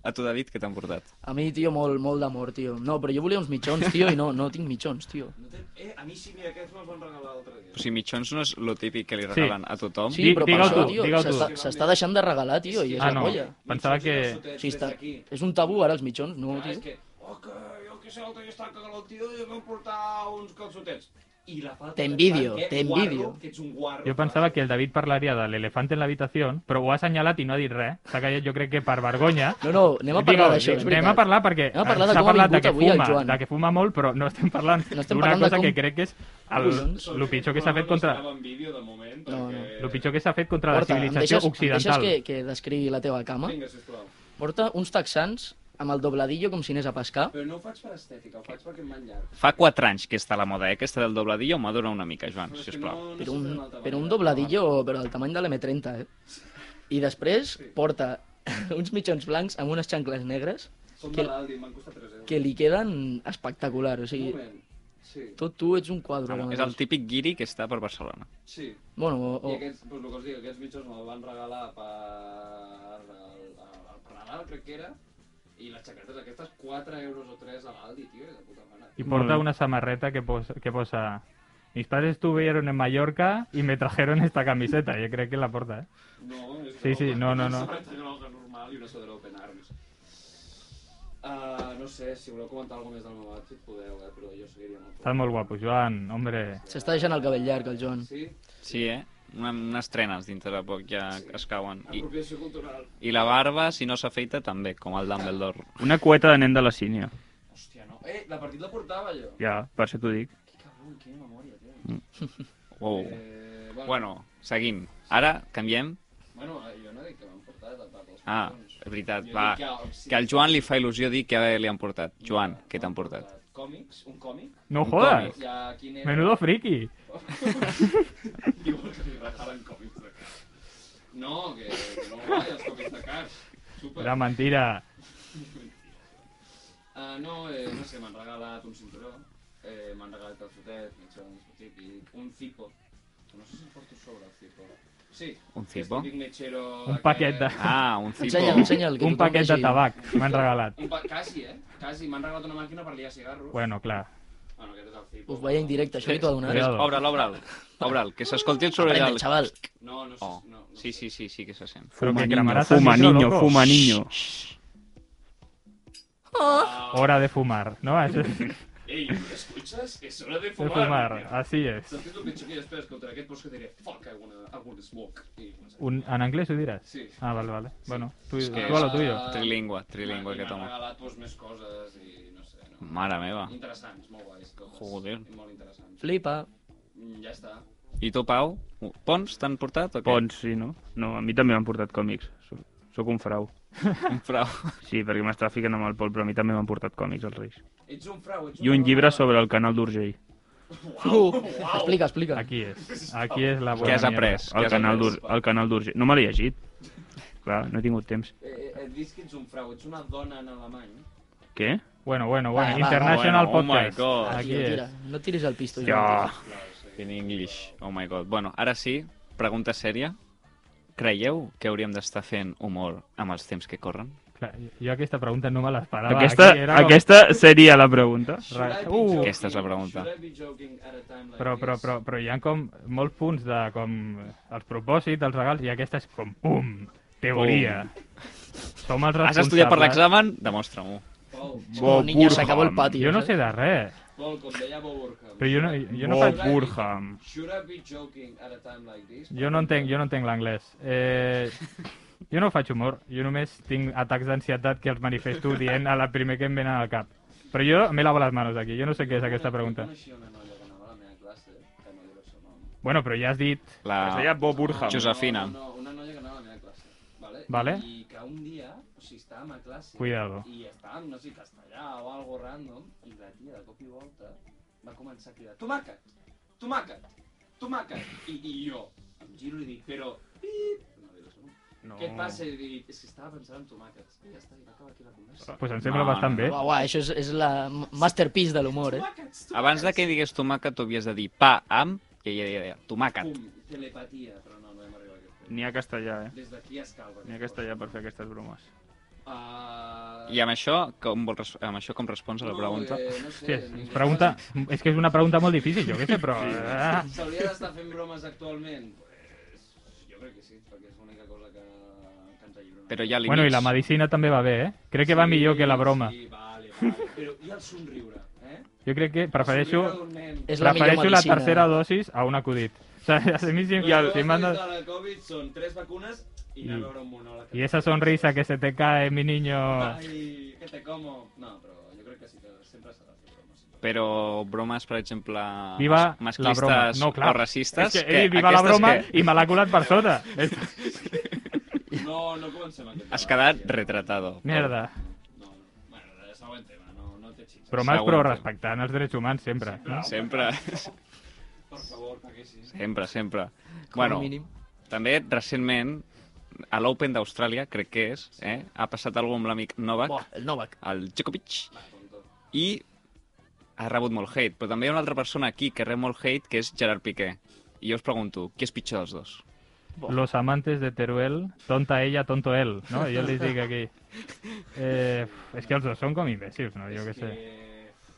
C: A tu, David, què t'han portat?
G: A mi, tio, molt, molt d'amor, tio. No, però jo volia uns mitjons, tio, i no, no tinc mitjons, tio.
D: No té... Eh, a mi sí, mira, aquests me'ls van regalar l'altre dia.
C: O sigui, mitjons no és lo típic que li regalen a tothom.
E: Di-
G: Sí, però per
E: digue-ho
G: això,
E: tu,
G: tio,
E: digue-ho tu.
G: s'està- s'està deixant de regalar, tio, i és
E: Ah,
G: la
E: no.
G: colla.
E: Pensava
D: Mitjons i
E: que-
D: calçotets
G: O sigui,
D: des
G: està...
D: d'aquí.
G: És un tabú, ara, els mitjons, no,
D: Clar,
G: tio.
D: és que, oh, que jo que sé, l'altre dia estava cagant el tio i em van portar uns calçotets. I la falta...
G: T'envidio,
D: de-
G: t'envidio.
D: Guarro, Que ets un guarro.
E: Jo pensava que el David parlaria de l'elefant en l'habitació, però ho ha assenyalat i no ha dit res. S'ha callat, jo crec que per vergonya.
G: No, no, anem a parlar
E: Digue-ho,
G: d'això, és
E: digue-ho.
G: veritat.
E: Anem a parlar perquè eh,
G: Anem a parlar de
E: s'ha
G: com ha
E: parlat de
G: vingut
E: que
G: avui el
E: fuma,
G: Joan.
E: de que fuma molt, però no estem parlant
G: No estem
E: d'una
G: parlant de
E: cosa
G: com-
E: que crec que és el,
G: Collons.
E: el pitjor que s'ha fet contra...
D: No, en vídeo, de moment,
G: No,
D: perquè...
E: El pitjor que s'ha fet contra
G: Porta,
E: la
G: em deixes,
E: civilització
G: em deixes
E: occidental.
G: que, que descrigui la teva cama?
D: Vinga, sisplau.
G: Porta uns texans amb el dobladillo com si anés a pescar.
D: Però no ho faig per estètica, ho faig perquè em van llarg.
C: Fa 4 anys que està a la moda, eh? Aquesta del dobladillo madura una mica, Joan,
D: Però és que
C: sisplau.
D: no- no
G: Per
D: sé fer
G: un,
D: d'una altra
G: per un
D: manera.
G: dobladillo, però del tamany de l'M30, eh? I després porta uns mitjons blancs amb unes xancles negres
D: Som
G: que-
D: de l'Aldi, em van costar 3 euros.
G: que li queden espectacular, o
D: Un
G: sigui,
D: moment. Sí,
G: tot tu ets un
E: Ah,
G: quadre.
C: Home,
G: ara
C: és el
G: mateix.
C: típic guiri que està per Barcelona.
D: sí.
G: Bueno, o,
D: I
G: o,
D: aquests, doncs el que us dic, aquests mitjons me'l van regalar per... el- el- per Nadal, crec que era, i les jaquetes aquestes, 4 euros o 3 a l'Aldi, tio, de puta mare.
E: I porta
F: Molt bé.
E: una samarreta que posa, que posa... Mis padres estuvieron en Mallorca y me trajeron esta camiseta. Yo creo que la porta, ¿eh?
D: No, és
E: Sí, sí, no, no, no.
D: Una samarreta groga normal i una sudadera Open Arms. Uh, no sé, si voleu comentar alguna més del meu outfit podeu, eh, però jo seguiria molt
E: Estás muy guapo, Joan, hombre.
G: s'està deixant el cabell llarg, el Joan.
D: Sí?
C: Sí, eh? Una, unes trenes dintre de poc ja es cauen. I,
D: Apropiació cultural.
C: I la barba, si no s'ha feita, també, com el Dumbledore.
F: Una cueta de nen de la sínia.
D: Hòstia, no. Eh, la partit la portava jo.
F: Ja, per això t'ho dic.
D: Que cabrón, quina memòria, tio.
C: Wow.
D: Eh, bueno,
C: Bueno, seguim. Ara canviem.
D: bueno, jo no dic que m'han portat a part dels
C: Ah,
D: pantalons.
C: és veritat,
D: Jo
C: va.
D: dic que-
C: Que al Joan li fa il·lusió dir què li han portat. Joan, què t'han
D: M'han
C: portat?
D: Còmics, un còmic.
E: No
C: Un
E: jodas.
C: còmic.
D: Ja, quin era?
E: Menudo friki.
D: Diuen que li regalen còmics de Cars. No, que, que no guai, els còmics de Cars. Super.
E: Era mentira.
D: Ah, no, eh, no sé, m'han regalat un cinturó, eh, m'han regalat calçotets, mitjons, el típic, un cipo. No sé si em porto sobre el cipo. Sí,
C: Un
D: que és
C: cipo?
D: típic mechero...
E: Un paquet de...
C: Ah, un cipo.
G: Ensenya, ensenya el que
E: Un
G: tothom
E: paquet de
G: vegi.
E: tabac m'han regalat.
D: Un pa... Quasi, eh? Quasi, m'han regalat una màquina per liar cigarros.
E: Bueno, clar.
D: Bueno, aquest és el cipo.
G: Us veia en directe, això t'ho ha donat.
E: Cuidado.
C: Obre'l, obre'l. Obre'l, que s'escolti el soroll
G: Aprende,
C: del...
G: xaval.
D: No, no sé,
C: Oh,
D: no, no
C: sí,
D: sé.
C: sí, sí, sí que se sent.
E: Però que
F: niño,
E: cremaràs el
F: fuma,
E: micro,
F: niño,
E: loco.
F: fuma, niño.
E: Hora de fumar, ¿no? Eso es
D: Ah, Ei, escuchas? És hora de
E: de
D: fumar.
E: fumar, ah.
D: tio.
E: así es.
D: Saps què és el pitjor que després escoltaré aquest bosc que diré fuck, I wanna, I wanna smoke. I començaré.
E: Un- ¿En inglés tú dirás?
D: Sí.
E: Ah, vale, vale. Bueno, tú, tú
C: que-
E: a lo tuyo.
D: Ah,
C: Trilingüe,
D: M'han-
C: trilingüe aquest
D: M'han
C: home.
D: regalat pues, més coses i no sé, no.
C: Mare meva.
D: Interessants, molt guais. Coses.
C: Ah. Joder.
D: I Molt interessants.
G: Flipa.
D: Mm, Ja està.
C: I tu, Pau? Pons t'han portat o què?
F: Pons, sí, no? No, a mi també m'han portat còmics. Soc- Sóc un frau.
C: Però...
F: Sí, perquè m'estava ficant amb el Pol, però a mi també m'han portat còmics els Reis.
D: Ets un frau, ets
F: I un llibre sobre el canal d'Urgell.
G: Uh, explica, explica.
E: Aquí es. Aquí es la buena
C: Què has
E: mierda.
C: après? Què
F: El
C: has
F: canal
C: après?
F: d'Ur- el canal d'Urgell. No me l'he llegit. Clar, no he tingut temps.
D: Eh, eh, et dius que ets un frau, ets una dona en alemany.
F: Què?
E: Bueno, bueno, bueno.
G: Va, va,
E: International
C: Bueno, oh my
E: Podcast.
C: God.
G: Ah,
E: Aquí
G: tio, tira,
E: es.
G: no tiris el pisto,
F: Ja.
G: Joan.
C: In English. Oh my god. Bueno, ara sí, pregunta sèria. Creieu que hauríem d'estar fent humor amb els temps que corren?
E: Clar, jo aquesta pregunta no me l'esperava.
F: aquesta,
E: Aquí era com-
F: aquesta seria la pregunta.
E: Ra-
D: Uh,
E: Uh,
C: Aquesta és la pregunta.
E: però, però, però, però hi ha com molts punts de com els propòsits, els regals, i aquesta és com, pum, teoria. Som els responsables.
C: Has estudiat per l'examen? Demostra-m'ho.
D: Paul,
G: És com un niño, se acabó el
F: Burham.
G: pati.
E: Jo no sé de res,
D: Paul, com deia Bob Burham.
E: però jo no, jo no,
F: Bob
E: faig,
F: Burham.
D: Should I be joking at a time like this?
E: jo no entenc, jo no entenc l'anglès. Eh, jo no faig humor, jo només tinc atacs d'ansietat que els manifesto dient a la primer que em venen al cap. Però jo me lavo les manos aquí, jo no sé què és aquesta pregunta.
D: Coneixia una noia que anava a la meva classe, que no diré el seu nom.
E: Bueno, però ja has dit...
G: Ah.
F: Es deia
C: La...
F: Bob Burham.
C: Josefina.
D: No, no, una noia que anava a la meva classe. Vale?
E: Vale.
D: I que un dia, o sigui, estàvem a classe...
E: Cuidado.
D: I estàvem, no sé, castellà o algo random, i la tia, de cop i volta, va començar a cridar «Tomàquet! Tomàquet! Tomàquet!» I, i jo em giro i dic «Però... Pip!» No diré el seu nom.
F: No.
D: Què et passa? I dic «És que estava pensant en tomàquets». I ja està, i va acabar aquí la conversa.
E: Pues em sembla
C: No,
G: Ah,
E: bastant
C: no,
E: bé.
G: Uau, uau, això és, és la masterpiece de l'humor, eh?
D: Tomàquets! tomàquets.
C: Abans de que digués tomàquet, tu havies de dir pa amb, i ella deia tomàquet.
D: Pum, telepatia, però no, no hem arribat a aquest punt.
F: N'hi ha castellà, eh?
D: Des d'aquí es calva.
F: N'hi ha castellà per fer aquestes bromes.
D: Uh...
C: I amb això, com, vol, res- amb això com respons a la pregunta?
D: No, eh, no sé,
E: Sí, és,
D: ningú-
E: és, pregunta, és que és una pregunta molt difícil, jo què sé, però... Ah,
D: S'hauria d'estar fent bromes actualment? Pues, jo crec que sí, perquè és l'única cosa que, que ens allibra.
C: Però hi ha límits.
E: bueno, i la medicina també va bé, eh? Crec que va millor que la broma.
D: Sí, vale, vale. Però i el somriure, eh?
E: Jo crec que prefereixo,
D: El somriure d'un nen.
G: És la millor
E: prefereixo la
G: medicina.
E: tercera dosis a un acudit. O sigui, a mi si,
D: Les
E: si
D: coses
E: em mandes-
D: de la Covid són tres vacunes i anar a veure un monòleg.
E: Y esa sonrisa que se te cae, mi niño...
D: Ai, que te como. No, però jo crec que sí que sempre s'ha de fer bromes.
C: Però bromes, per exemple,
E: Viva la
C: Ah, masclistes
E: broma. No, clar.
C: o racistes...
E: és que, he dit viva la
C: aquestes
E: broma
C: que
E: i me l'ha colat per sota. És...
D: No, no comencem aquest
C: Has
D: debat,
C: quedat
D: ja.
C: retratado.
E: Merda.
D: No, no. Bueno, és següent tema, no, no té xinxes.
E: Bromes
C: Següent.
E: però respectant els drets humans sempre. No?
C: Sempre,
D: Per favor, perquè sí.
C: sempre, sempre.
G: Com a
C: Bueno,
G: mínim.
C: també recentment, a l'Open d'Austràlia, crec que és, eh, ha passat alguna amb l'amic Novak,
G: Buah, el Novak.
C: el Djokovic,
D: Va, tonto.
C: i ha rebut molt hate. Però també hi ha una altra persona aquí que rep molt hate, que és Gerard Piqué. I jo us pregunto, qui és pitjor dels dos?
E: Los amantes de Teruel, tonta ella, tonto él, no? Jo li dic aquí. Eh, és que els dos són com imbècils, no? Jo què
D: És
E: sé.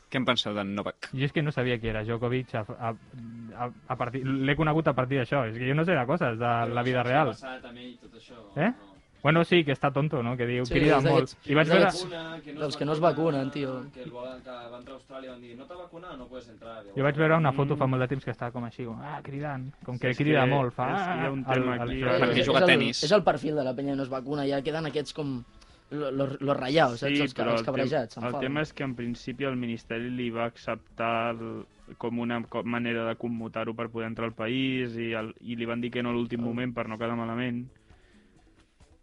C: Què en penseu d'en Novak?
E: Jo és que no sabia qui era Djokovic a, a, a, a partir... L'he conegut a partir d'això. És que jo no sé de coses de la vida
D: Això
E: real.
D: s'ha passat amb ell i tot això,
E: Eh?
D: no.
E: Bueno, sí, que està tonto, no? Que diu,
G: Sí,
E: crida
G: és
E: molt.
G: d'aquests-
E: I vaig
G: és
E: veure...
G: d'aquests-
D: Una, que no
G: dels
D: es
G: que no es vacunen, tio.
D: Que, el volen, que va entrar a Austràlia i van dir, no t'ha vacunat, no puedes entrar. Llavors,
E: Jo vaig veure una foto fa molt de temps que estava com així, com, ah, cridant, com que crida molt, fa...
F: Mm. és que hi ha un
E: "Ah",
F: tema aquí,
E: Joan.
C: Perquè
G: és,
C: juga a
G: és el,
C: tenis.
G: És el perfil de la penya que no es vacuna, ja queden aquests com lo- los, los rayados, saps? els, ca- els
F: el,
G: cabrejats.
F: tema, el tema és que en principi el Ministeri li va acceptar el, com una co- manera de commutar-ho per poder entrar al país i, el, i li van dir que no a l'últim
G: El-
F: moment per no quedar malament.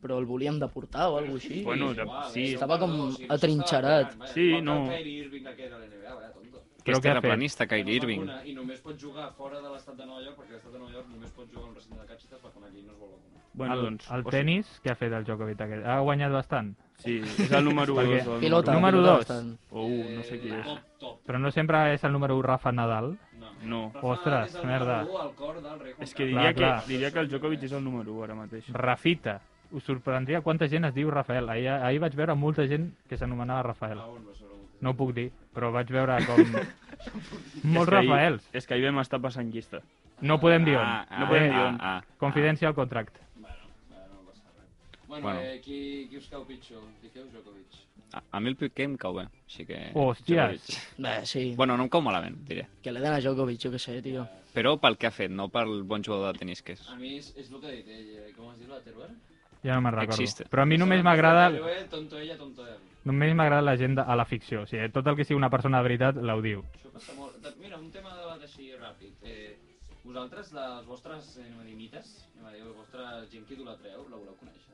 G: Però el volíem deportar o alguna així.
F: Bueno,
D: és igual,
F: sí.
D: eh?
G: Estava com
D: No, no, si no
G: atrinxerat.
D: s'estava vacunant, vaja,
F: Sí,
D: igual que
F: no.
D: el Kyrie Irving aquell de la NBA, vaya tonto.
C: Que
E: Però
C: és
E: què ha fet?
C: terraplanista,
D: Que no es
C: Kyrie Irving.
D: vacuna I només pot jugar fora de l'estat de Nova York, perquè l'estat de Nova York només pot jugar a un recinte de cap si t'has vacunat i no es vol vacunar.
F: Bueno,
E: el,
F: doncs,
E: el
F: o sigui,
E: tenis, què ha fet el Djokovic aquest? Ha guanyat bastant,
F: Sí, és el número 2.
E: Perquè-
F: el
G: Pilota,
E: Número
G: pilota
E: dos.
G: bastant.
F: O 1, Oh, no sé qui
D: Eh,
F: és.
D: Top, top.
E: però no sempre és el número 1 Rafa Nadal.
D: No.
F: No.
D: Rafa
E: Ostres,
D: és el
E: merda.
D: número u al cor del rei Juan
F: És que
D: Carlos.
E: Clar,
F: diria,
E: clar.
F: que diria que el Djokovic és el número 1 ara mateix.
E: Rafita. Us sorprendria quanta gent es diu Rafael. Ahir, ahir vaig veure molta gent que s'anomenava Rafael.
D: Ah, on va sobre un-
E: No ho puc dir, però vaig veure com...
F: És
E: Molts
F: que ahir-
E: Rafaels.
F: És que ahir vam estar passant llista.
E: No podem dir on. Eh,
C: Ah, ah,
F: No podem dir
C: ah,
F: on.
C: ah.
E: Confidència al contracte.
D: Bueno, bueno, no passa res. Bueno,
C: Bueno.
D: Eh, qui, qui us cau pitjor? Piqueu o Djokovic?
C: A, a mi el Piqué em cau bé, així que...
E: Hòsties.
C: Djokovic.
G: Bé, sí,
C: Bueno, no em cau malament, diré.
G: que le den a Djokovic, jo què sé, tio.
C: Però pel que ha fet, no pel bon jugador de tenis que és.
D: A mi és, és el que ha dit ell, eh, com es diu la Teruel?
E: Ja no me'n recordo.
C: Existe.
E: Però a mi només m'agrada...
D: Teruel, tonto ella, tonto ell.
E: Només m'agrada la gent de, a la ficció. O sigui, tot el que sigui una persona de veritat l'audiu.
D: Això passa molt. De- Mira, un tema de debat així ràpid. Eh, vosaltres, les vostres eh, anem a dir, mites, anem a dir, la vostra gent que idolatreu, la voleu conèixer?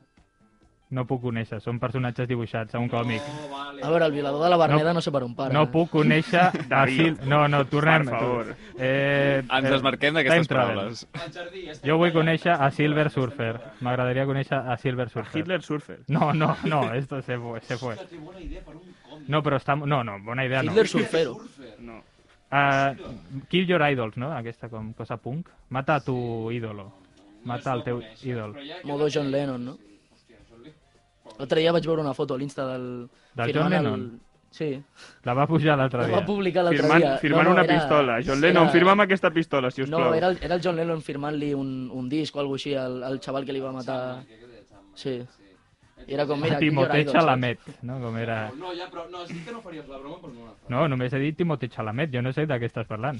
E: No puc conèixer, són personatges dibuixats a un còmic.
D: No, Oh, vale.
G: A veure, el violador de la Berneda no, sé per on para. eh.
E: No puc conèixer... David. No, no, tornem.
F: Per favor.
E: Eh,
C: Ens
E: eh,
C: desmarquem d'aquestes
E: time travel.
C: paraules.
D: Al jardí, ja estem
E: Jo vull
D: ballant,
E: conèixer a
D: estem
E: Silver
D: ballant, estem
E: Surfer.
D: ballant.
E: M'agradaria conèixer a Silver
F: A
E: Surfer.
F: Hitler Surfer.
E: No, no, no, esto se fue, se fue.
D: Hòstia, té bona idea per un eh, còmic.
E: No, però està... No, no, bona idea no.
G: Hitler Surfero.
D: Surfer.
F: No.
E: Uh, kill your idols, no? Aquesta com cosa punk. Mata a tu ídolo.
D: No
E: Mata
D: es
E: el teu
D: coneixes,
E: ídol.
D: però ja- ja
G: Modo
D: la
G: John
D: tenia.
G: Lennon, no?
D: Sí, hòstia, John Lennon.
G: L'altre dia vaig veure una foto a l'Insta del...
E: Del
G: firmant
E: John
G: el-
E: Lennon?
G: Sí,
E: La va pujar l'altre
G: la
E: dia.
G: va publicar l'altre
F: Firmant,
G: dia.
F: firmant una pistola. John Lennon,
G: era-
F: firma'm aquesta pistola, si us
G: No,
F: plau.
G: era el, era el John Lennon firmant-li un, un disc o alguna així al, al xaval que li va matar. Sí. I era com, mira, aquí hi haurà
E: Timothée
G: ídols, saps?
E: Chalamet, no? Com era...
D: No, ja, però no, has dit que no faries la broma, però no la fas.
E: No, només he dit Timothée Chalamet, jo no sé de què estàs parlant.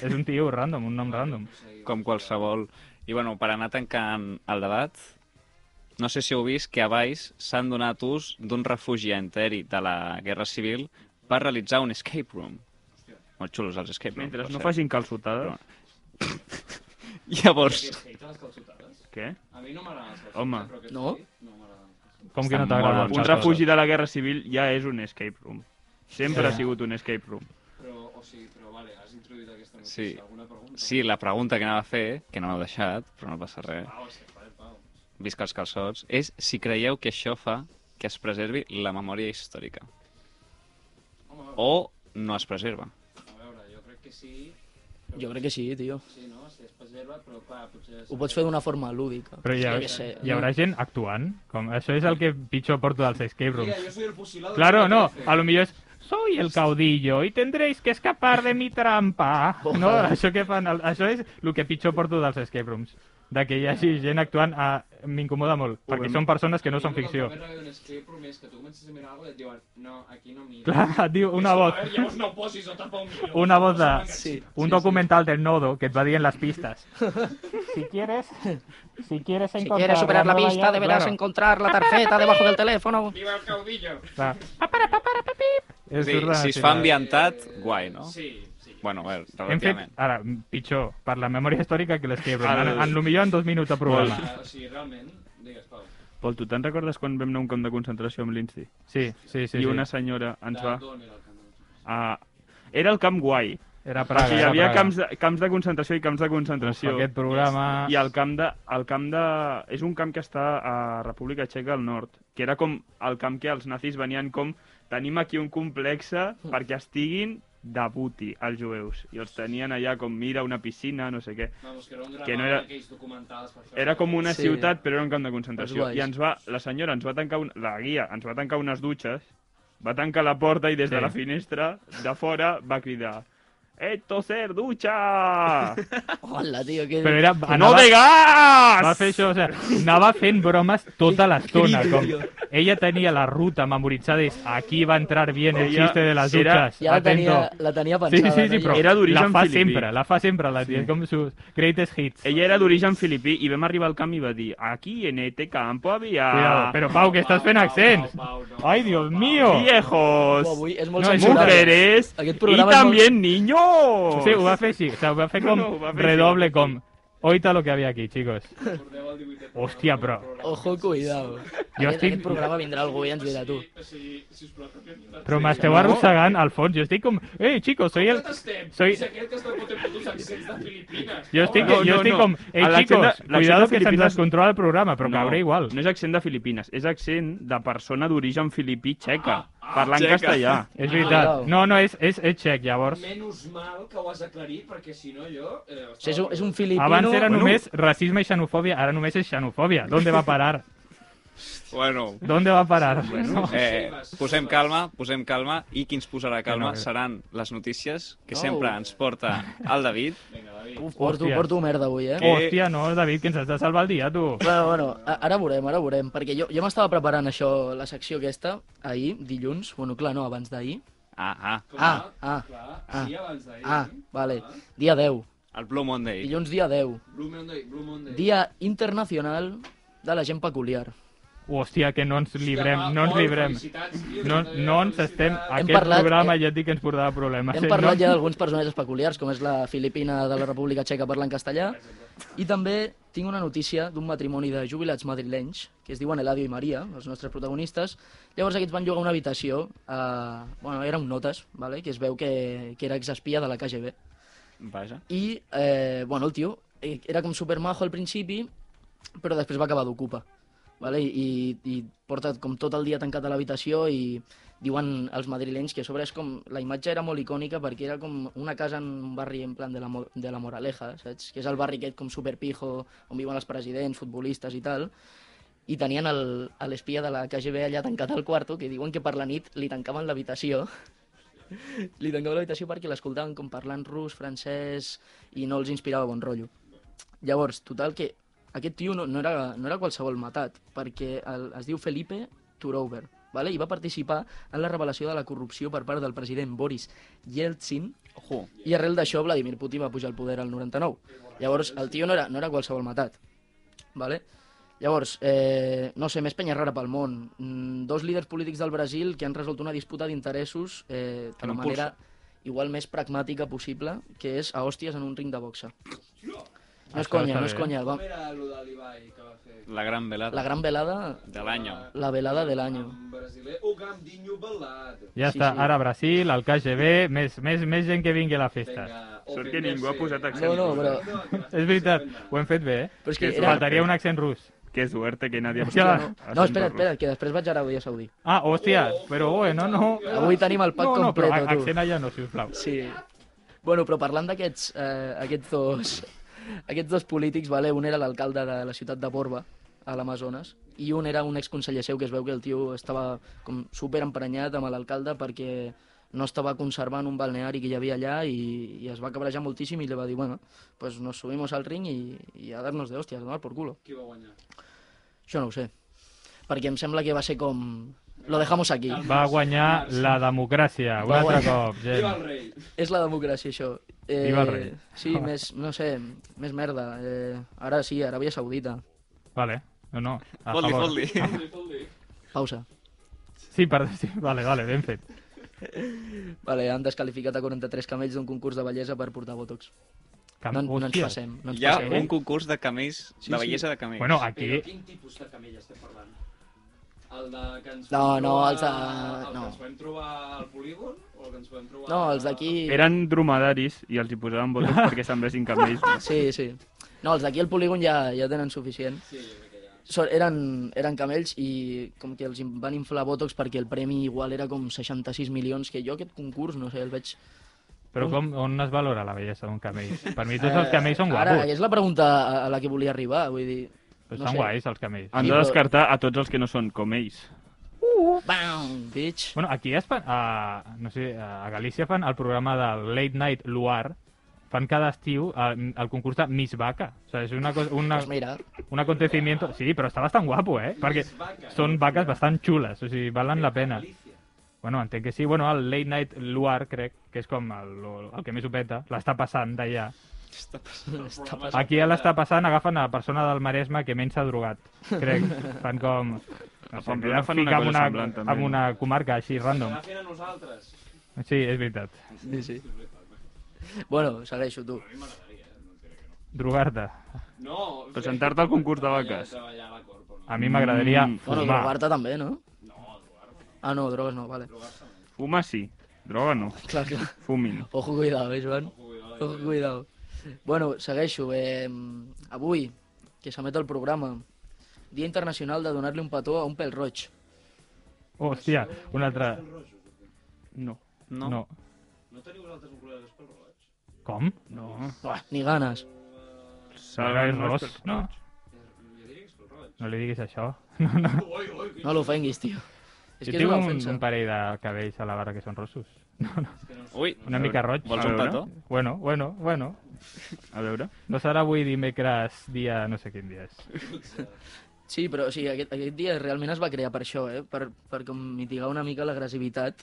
E: És un tio random, un nom random.
C: com qualsevol. I bueno, per anar tancant el debat, no sé si heu vist que a Valls s'han donat ús d'un refugi enteri de la Guerra Civil per realitzar un escape room. Molt xulos els escape rooms.
F: Mentre
C: per
F: no
C: cert.
F: facin calçotades...
C: Llavors,
D: Perquè hate les calçotades?
F: Què?
D: A mi no m'agraden les calçotades,
F: Home.
D: però que
G: No?
D: No m'agraden. les calçotades.
E: Com que no
C: Estan
E: t'agrada?
C: molt bons.
F: Un refugi de la Guerra Civil ja és un escape room. Sempre
E: Sí.
F: ha sigut un escape room.
D: Però, o sigui, però vale, has introduït aquesta notícia.
C: Sí.
D: Alguna pregunta?
C: sí, la pregunta que anava a fer, que no m'heu deixat, però no passa res,
D: Pau, és que, joder, Pau.
C: visca els calçots, és si creieu que això fa que es preservi la memòria històrica.
D: Home,
C: O no es preserva.
D: a veure, jo crec que sí,
G: Jo crec que sí, tio.
D: sí, no? Si es preserva, però clar, potser...
G: Ho pots fer d'una forma lúdica.
E: Però hi, ha,
G: Jo què sé,
E: hi haurà
G: no?
E: gent actuant? Com, això és el que pitjor porto dels escape
D: Mira,
E: rooms.
D: yo soy el fusilado.
E: Claro,
D: de
E: no,
D: 13.
E: a lo millor és soy el caudillo y tendréis que escapar de mi trampa. No, això que fan, el- això és el que pitjor porto dels escape rooms. De que hi hagi gent actuant, a... m'incomoda molt, perquè
F: vam-
E: són persones que no
D: Jo
E: són
D: crec que el
E: ficció.
D: primer regalo d'un escape room és que tu comences a mirar algo i et diuen, no, aquí no miro.
E: Clar, et diu una
D: Eso,
E: voz,
D: a ver, Llavors no posis o tapa un miro.
E: una voz de...
G: Sí,
E: un documental del nodo que et va dient les pistes. Si quieres, si quieres encontrar...
G: Si quieres superar la
E: nueva
G: pista,
E: llave-
G: deberás
E: claro.
G: encontrar la tarjeta debajo del teléfono.
D: Viva el caudillo.
E: Clar. Pa, para, pa, para, pa, pip. És
C: Sí,
E: surrealista.
C: si es fa ambientat, guai, no?
D: Sí, sí.
C: Bueno, a veure,
E: Hem fet,
C: relativament.
E: ara, pitjor, per la memòria històrica que l'escape room.
F: Ara-
E: En, en, lo millor en dos minuts de programa.
D: Ah, o sigui, realment, digues, Pau.
F: Pol, tu te'n recordes quan vam anar a un camp de concentració amb l'Insti?
E: Sí, sí, sí. sí.
F: I una senyora ens
D: De
F: va...
D: d'on era el canal?
F: A... Era el camp guai.
E: Era
F: Perquè
E: Praga,
F: hi
E: era
F: havia
E: Praga.
F: camps de, camps de concentració i camps de concentració.
E: Aquest programa...
F: I el camp, de, el camp de... És un camp que està a República Txeca al nord, que era com el camp que els nazis venien com tenim aquí un complexe perquè estiguin de buti, els jueus. I els tenien allà com mira una piscina, no sé què.
D: Vamos, que era un gran
F: Que no
D: no
F: era-
D: era... aquells documentals. Per això.
F: Era com una
G: Sí.
F: sí. ciutat, però era un camp de
G: Els
F: concentració.
G: guais.
F: I ens va, la senyora ens va tancar, un, la guia, ens va tancar unes dutxes, va tancar la porta i des sí.
E: Sí.
F: de la finestra, de fora, va cridar «Esto ser ducha!
G: Hola, tio, que...
E: Però era...
F: ¡No de gas!»
E: Va fer això, o sigui, anava fent bromes tota l'estona.
G: Crido,
E: Com...
G: tio.
E: Ella tenia la ruta memoritzada i aquí va entrar bien el
F: Ella
E: xiste de les
F: era-
E: dutxes.
G: Ja la tenia,
E: Atento.
G: la tenia
E: Sí,
G: pensada.
E: sí, sí,
G: no?
E: però
F: Era d'origen
E: la fa
F: filipí.
E: sempre, la fa sempre, la tia,
F: Sí.
E: com sus greatest hits.
F: Ella era d'origen filipí i vam arribar al camp i va dir «Aquí, en este campo, havia...
E: Cuidado. Però, Pau, que estàs fent accents.
D: Pau, no,
E: Ai, Dios mío.
G: Oh,
F: viejos,
G: avui és molt
E: No, és
G: censurable.
F: mujeres
G: Aquest
F: i
G: programa és
F: també
G: molt-
F: niños!»
E: Sí, ho va fer així, o sigui, ho va fer com
F: No, no, ho va fer
E: redoble,
F: així.
E: com... Oita lo que havia aquí, chicos.
D: Recordeu el 18 de
E: Hòstia,
D: febrer,
E: però-
D: el programa.
G: Ojo, cuidado.
E: Jo
G: aquest,
E: estic-
G: aquest programa vindrà algú i ens dirà tu.
D: O sigui, sisplau, que fem una-
E: Però m'esteu
F: no.
E: arrossegant al fons, jo estic com... Ei, eh, chicos, soy el...
D: Com estem?
E: soy-
D: És aquell Este, que està fotent putos accents de Filipines.
E: Jo estic,
F: No,
E: jo
F: no,
E: estic
F: no.
E: com... Ei,
F: A l'accent de-
E: eh, chicos,
F: l'accent de
E: cuidado que se'ns
F: Filipines-
E: descontrola el programa, però cauré igual.
F: No és accent de Filipines, és accent de persona d'origen filipí txeca,
D: ah,
F: parlant
C: txeca.
F: castellà.
E: És veritat.
G: Cuidao.
E: No, no, és, és, és txec, llavors.
D: Menys mal que ho has aclarit, perquè si no jo... Eh,
G: O sigui, és, un, és un filipino...
E: Abans era
F: bueno.
E: només racisme i xenofòbia, ara només és xenofòbia. D'on va parar?
C: Bueno,
E: D'on va parar? No.
C: Eh,
D: Sigues,
C: posem
D: sigues.
C: calma, posem calma, i qui ens posarà calma
E: Vinga, vinga.
C: seran les notícies que
G: Oh.
C: sempre ens porta el David.
D: Vinga, David.
G: Uf, porto,
E: Hòstia.
G: porto merda avui, eh?
C: Eh.
E: Hòstia, no, David, que ens has de salvar el dia, tu.
G: Bueno, bueno, a- ara veurem, ara veurem, perquè jo, jo m'estava preparant això, la secció aquesta, ahir, dilluns, bueno, clar, no, abans d'ahir.
C: Ah, ah,
G: Ah, ah,
D: Clar,
G: ah.
D: sí, abans d'ahir.
G: ah, vale, dia 10,
C: el Blue Monday.
G: dilluns dia 10,
D: Blue Monday, Blue Monday.
G: dia internacional de la gent peculiar.
E: Hòstia, que no ens librem, no ens
D: Pol,
E: librem.
D: felicitats, tio,
E: No,
D: que
E: no ens
D: felicitats.
E: estem... Aquest
G: parlat- eh,
E: programa ja et dic que ens portava problemes.
G: Hem
E: eh?
G: parlat
E: No-
G: ja d'alguns personatges peculiars, com és la filipina de la República Txeca parlant castellà, i també tinc una notícia d'un matrimoni de jubilats madrilenys, que es diuen Eladio i Maria, els nostres protagonistes. Llavors aquests van llogar una habitació, a... bueno, era un notes, vale? que es veu que, que era exespia de la KGB.
C: Vaja.
G: I, eh, bueno, el tio eh, era com supermajo al principi, però després va acabar d'ocupa. Vale? I, I porta com tot el dia tancat a l'habitació i diuen els madrilenys que a sobre és com... La imatge era molt icònica perquè era com una casa en un barri en plan de la, Mo- de la Moraleja, saps? Que és el barri aquest com superpijo, on viuen els presidents, futbolistes i tal. i tenien el- a l'espia de la KGB allà tancat al quarto, que diuen que per la nit li tancaven l'habitació. li tancaven l'habitació perquè l'escoltaven com parlant rus, francès, i no els inspirava bon rotllo. Llavors, total, que aquest tio no, no, era, no era qualsevol matat, perquè el, es diu Felipe Turover, vale? i va participar en la revelació de la corrupció per part del president Boris Yeltsin,
C: Ojo,
G: i arrel d'això Vladimir Putin va pujar al poder al 99. Llavors, el tio no era, no era qualsevol matat. Vale? Llavors, eh, no sé, més penya rara pel món. Mm, dos líders polítics del Brasil que han resolt una disputa d'interessos eh, de
C: En
G: la
C: un pulso.
G: manera igual més pragmàtica possible, que és a hòsties en un ring de boxa. No és
E: Això
G: conya,
E: està
G: no és
E: bé.
G: conya. Va,
D: Com era allò de l'Ibai que va fer?
C: la gran velada
G: la gran velada,
C: de l'any.
G: la velada de l'any.
D: En brasiler, o gambinho balado.
E: Ja
G: Sí,
E: està,
G: sí.
E: ara Brasil, el KGB, més, més, més gent que vingui a la festa.
D: Vinga,
F: Sort
D: Open
F: que ningú ha
D: Mercy.
F: posat
G: accent. No, no, però-
E: És veritat, ho hem fet bé, eh?
G: Però és que
F: Que
G: era...
E: Faltaria un accent rus.
F: Que suerte que nadie...
E: Hòstia,
F: Hòstia,
G: No, espera, espera, que després vaig a Aràbia Saudí.
E: Ah, hòstia, però bueno, no...
G: Avui tenim el pack
E: no, no, però
G: completo, tu.
E: accent allà no, sisplau.
G: Sí. Bueno, però parlant d'aquests eh, aquests dos aquests dos polítics, vale? un era l'alcalde de la ciutat de Borba, a l'Amazones, i un era un exconseller seu que es veu que el tio estava com super emprenyat amb l'alcalde perquè no estava conservant un balneari que hi havia allà i, i es va cabrejar moltíssim i li va dir, bueno, pues nos subimos al ring i, i a darnos de hòsties, a donar por culo.
D: Qui va guanyar?
G: Això no ho sé, perquè em sembla que va ser com... Lo dejamos aquí.
E: Va guanyar la democràcia, un
G: Va
E: altre
G: guanyar.
E: cop, gent.
D: Viva el rei!
G: És la democràcia, això. Eh,
E: Viva el rei.
G: Sí, més, no sé, més merda. Eh, ara sí, Aràbia Saudita.
E: Vale, no, no, a
C: Fot-li,
E: favor.
C: fot-li.
G: Pausa.
E: Sí, perdó, sí, vale, vale, ben fet.
G: Vale, han descalificat a 43 camells d'un concurs de bellesa per portar botox.
E: Cam...
G: No, no ens
E: hòstia.
G: passem, no ens
C: Hi ha
G: passem. eh?
C: un concurs de camells,
G: Sí,
C: de
G: sí.
C: bellesa de camells.
E: Bueno,
D: Però
E: aquí...
D: quin tipus de camell estem parlant? El de que ens
G: No,
D: vam
G: no,
D: trobar-
G: els de-
D: El
G: no.
D: que ens vam trobar al polígon? O el que ens vam trobar...
G: No, els d'aquí...
F: Eren dromedaris i els hi posaven botox perquè semblessin camells.
G: Sí, sí. No, els d'aquí al polígon ja, ja tenen suficient.
D: Sí, jo crec que ja.
G: So, eren, eren camells i com que els in- van inflar botox perquè el premi igual era com 66 milions, que jo aquest concurs, no sé, el veig...
E: Però com, on es valora la bellesa d'un camell? Per mi tots els camells són
G: Eh, Ara,
E: guapos.
G: és la pregunta a- a la que volia arribar, vull dir...
E: Però
G: no
E: Estan
G: sé.
E: guais, els camells.
F: Han
G: Sí,
F: de
G: però-
F: descartar a tots els que no són com ells.
G: Bam, bitch.
E: Bueno, aquí a, Espa- a, no sé, a Galícia fan el programa del Late Night Luar, fan cada estiu eh, el, el concurs de Miss Vaca. O sigui, és una, cosa, una,
G: Pues mira,
E: un acontecimiento... Sí, però està bastant guapo, eh? Perquè
D: Vaca.
E: són vaques bastant xules, o sigui, valen la pena.
D: Galícia.
E: Bueno, entenc que sí. Bueno, el Late Night Luar, crec, que és com el, el que més ho peta, l'està passant d'allà.
G: està passant.
E: Aquí a l'està passant agafen a la persona del Maresme que menys s'ha drogat, crec. Fan com... No
F: A
E: sé,
F: Pamplona
E: la
F: fan una
E: fica en
F: cosa
E: una,
F: semblant, també,
E: en
F: no?
E: una comarca així, random.
D: Està fent a nosaltres.
E: Sí, és veritat.
G: Sí, sí. Bueno, segueixo, tu.
E: Drogar-te.
D: No,
F: Presentar-te al concurs de
D: treballar-
F: vaques.
D: Treballar a la corpo, no.
E: A mi m'agradaria
F: Mm.
G: Bueno,
E: fumar.
G: drogar-te també, no? Ah, no, drogues no, vale.
F: Fuma sí, droga no,
G: Clar, clar.
F: fumin.
G: Ojo, cuidado, eh, Joan? Ojo, cuidado. Bueno, segueixo. Eh, avui, que s'emet el programa, Dia Internacional de donar-li un petó a un pèl roig.
E: Oh, hòstia, un altre...
F: No.
C: No.
E: No.
D: No teniu vosaltres un col·lega d'espel roig?
E: Com?
F: No.
G: Ah, Ni ganes.
E: Però és
F: Saben els
E: ros,
F: pèls
E: no?
F: roig.
D: Jo diria que és pel roig.
E: No li diguis això. No, no.
D: Ui, ui, que-
G: No l'ofenguis, tio. És
E: Jo
G: que és
E: tinc
G: una
E: un,
G: ofensa.
E: un parell de cabells a la barra que són rossos.
C: Ui,
E: Una mica roig.
C: vols
F: A
C: un
F: veure.
C: petó?
E: Bueno, bueno, bueno.
F: A veure,
E: No serà avui dimecres, dia... no sé quin dia és.
G: Sí, però sí, aquest, aquest dia realment es va crear per això, eh? Per, per com mitigar una mica l'agressivitat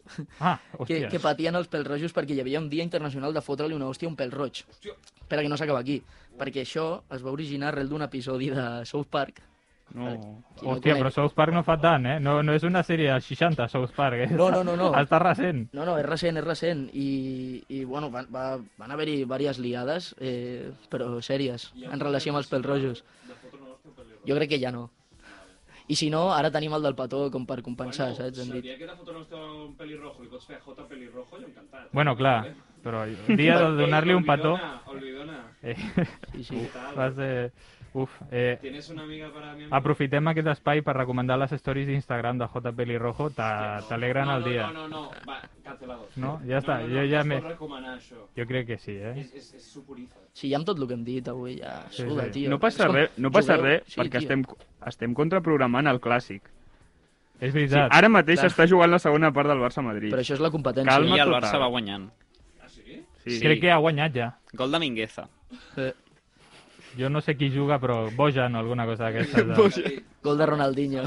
E: Ah,
G: que,
E: hòstia.
G: que patien els pèl-rojos perquè hi havia un dia internacional de fotre-li una hòstia a un pèl-roig. Espera que no s'acaba aquí, perquè això es va originar arrel d'un episodi de South Park.
F: no.
G: Qui no
E: Hòstia,
G: conec-
E: però South Park no fa tant, eh? No, no és una sèrie dels 60, South Park. Eh?
G: No, no, no, no.
E: Està recent.
G: No, no, és recent, és recent. I, i bueno, van, va, van haver-hi diverses liades, eh, però sèries, en relació amb els pèl-rojos. Jo crec que ja no. I si no, ara tenim el del petó com per compensar, saps? Hem dit.
D: Sabia que era fotre un pelirrojo i pots fer J pelirrojo, jo encantat.
E: Bueno, clar, però el dia de donar-li un petó
D: Olvidona, olvidona.
E: eh,
G: Sí, sí.
E: va ser Uf, eh,
D: ¿Tienes una amiga para mi
E: Ah,
D: amiga?
E: aprofitem aquest espai per recomendar les stories d'Instagram de J. Pelirrojo. T'a- T'alegren
D: no,
E: el dia.
D: No, no, no, no, va, cancelado.
E: No? Ja està,
D: no, no,
E: jo ja
D: no
E: m'he-
D: es pot recomanar això.
E: Jo crec que sí, eh?
D: És, és, és suporífer.
G: Sí, ja amb tot el que hem dit avui, ja...
E: Sí,
G: Suda,
E: sí.
G: tio.
F: No passa
G: És com-
F: res, no passa
G: jugueu.
F: res
G: Sí,
F: perquè
G: tio.
F: estem, estem contraprogramant el clàssic.
E: És
F: Sí,
E: veritat.
D: ah,
F: ara mateix
G: Clar.
F: s'està jugant la segona part del Barça-Madrid.
G: Però això és la competència.
F: Calma.
C: I el
F: total.
C: Barça va guanyant.
D: Ah, sí?
F: Sí.
E: Crec que ha guanyat ja.
C: Gol de Mingueza.
G: Eh,
E: Jo no sé qui juga, però Bojan o alguna cosa d'aquestes. De...
G: gol de Ronaldinho.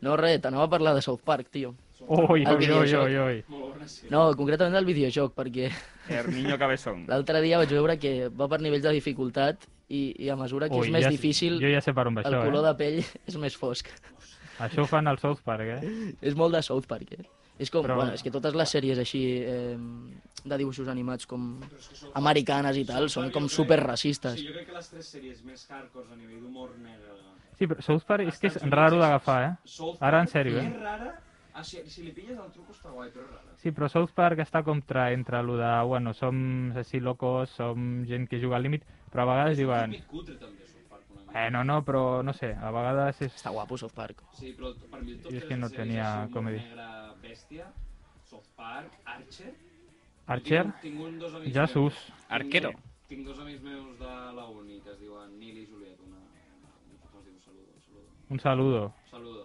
G: No, res, t'anava a parlar de South Park, tio.
E: Ui,
G: El
E: ui, ui,
G: videojoc.
E: ui, ui.
D: Molt bona sèrie.
G: No, concretament del videojoc, perquè
F: Herminio Cabezón.
G: l'altre dia vaig veure que va per nivells de dificultat i, i a mesura que
E: Ui,
G: és més
E: ja, sé-
G: difícil,
E: Jo ja sé per on va
G: el
E: això,
G: color
E: eh?
G: de pell és més fosc.
E: Això ho fan al South Park, eh?
G: és molt de South Park, eh? És com,
E: Però-
G: Però... bueno, és que totes les sèries així eh, de dibuixos animats com americanes i Ah, tal són com superracistes.
D: Sí, jo crec que les tres sèries més hardcore a nivell d'humor negre...
E: Sí, però South Park és que és raro d'agafar, eh?
D: South
E: Ara, en
D: Park
E: sèrio, eh?
D: És rara... Ah, si, si li pilles el truco està guai, però és rara.
E: Sí, però South Park està contra entre allò de, bueno, som així locos, som gent que juga al límit, però a vegades diuen,
D: És cutre, també, South Park, una mica.
E: bueno, no, però no sé, a vegades és...
G: Està guapo South Park.
D: Sí, però per mi
E: Jo
D: totes
E: és que no
D: les sèries
E: tenia
D: així, humor
E: comedy.
D: negre bèstia, South Park, Archer...
E: Archer?
D: Tinc, un- tinc un, dos amics
E: Jesús.
D: meus. Tinc-
C: Arquero.
D: Tinc dos amics meus de la uni que es diuen Nil i Juliet, una... una com es diu? Saludo, saludo.
E: Un saludo.
D: Saludo.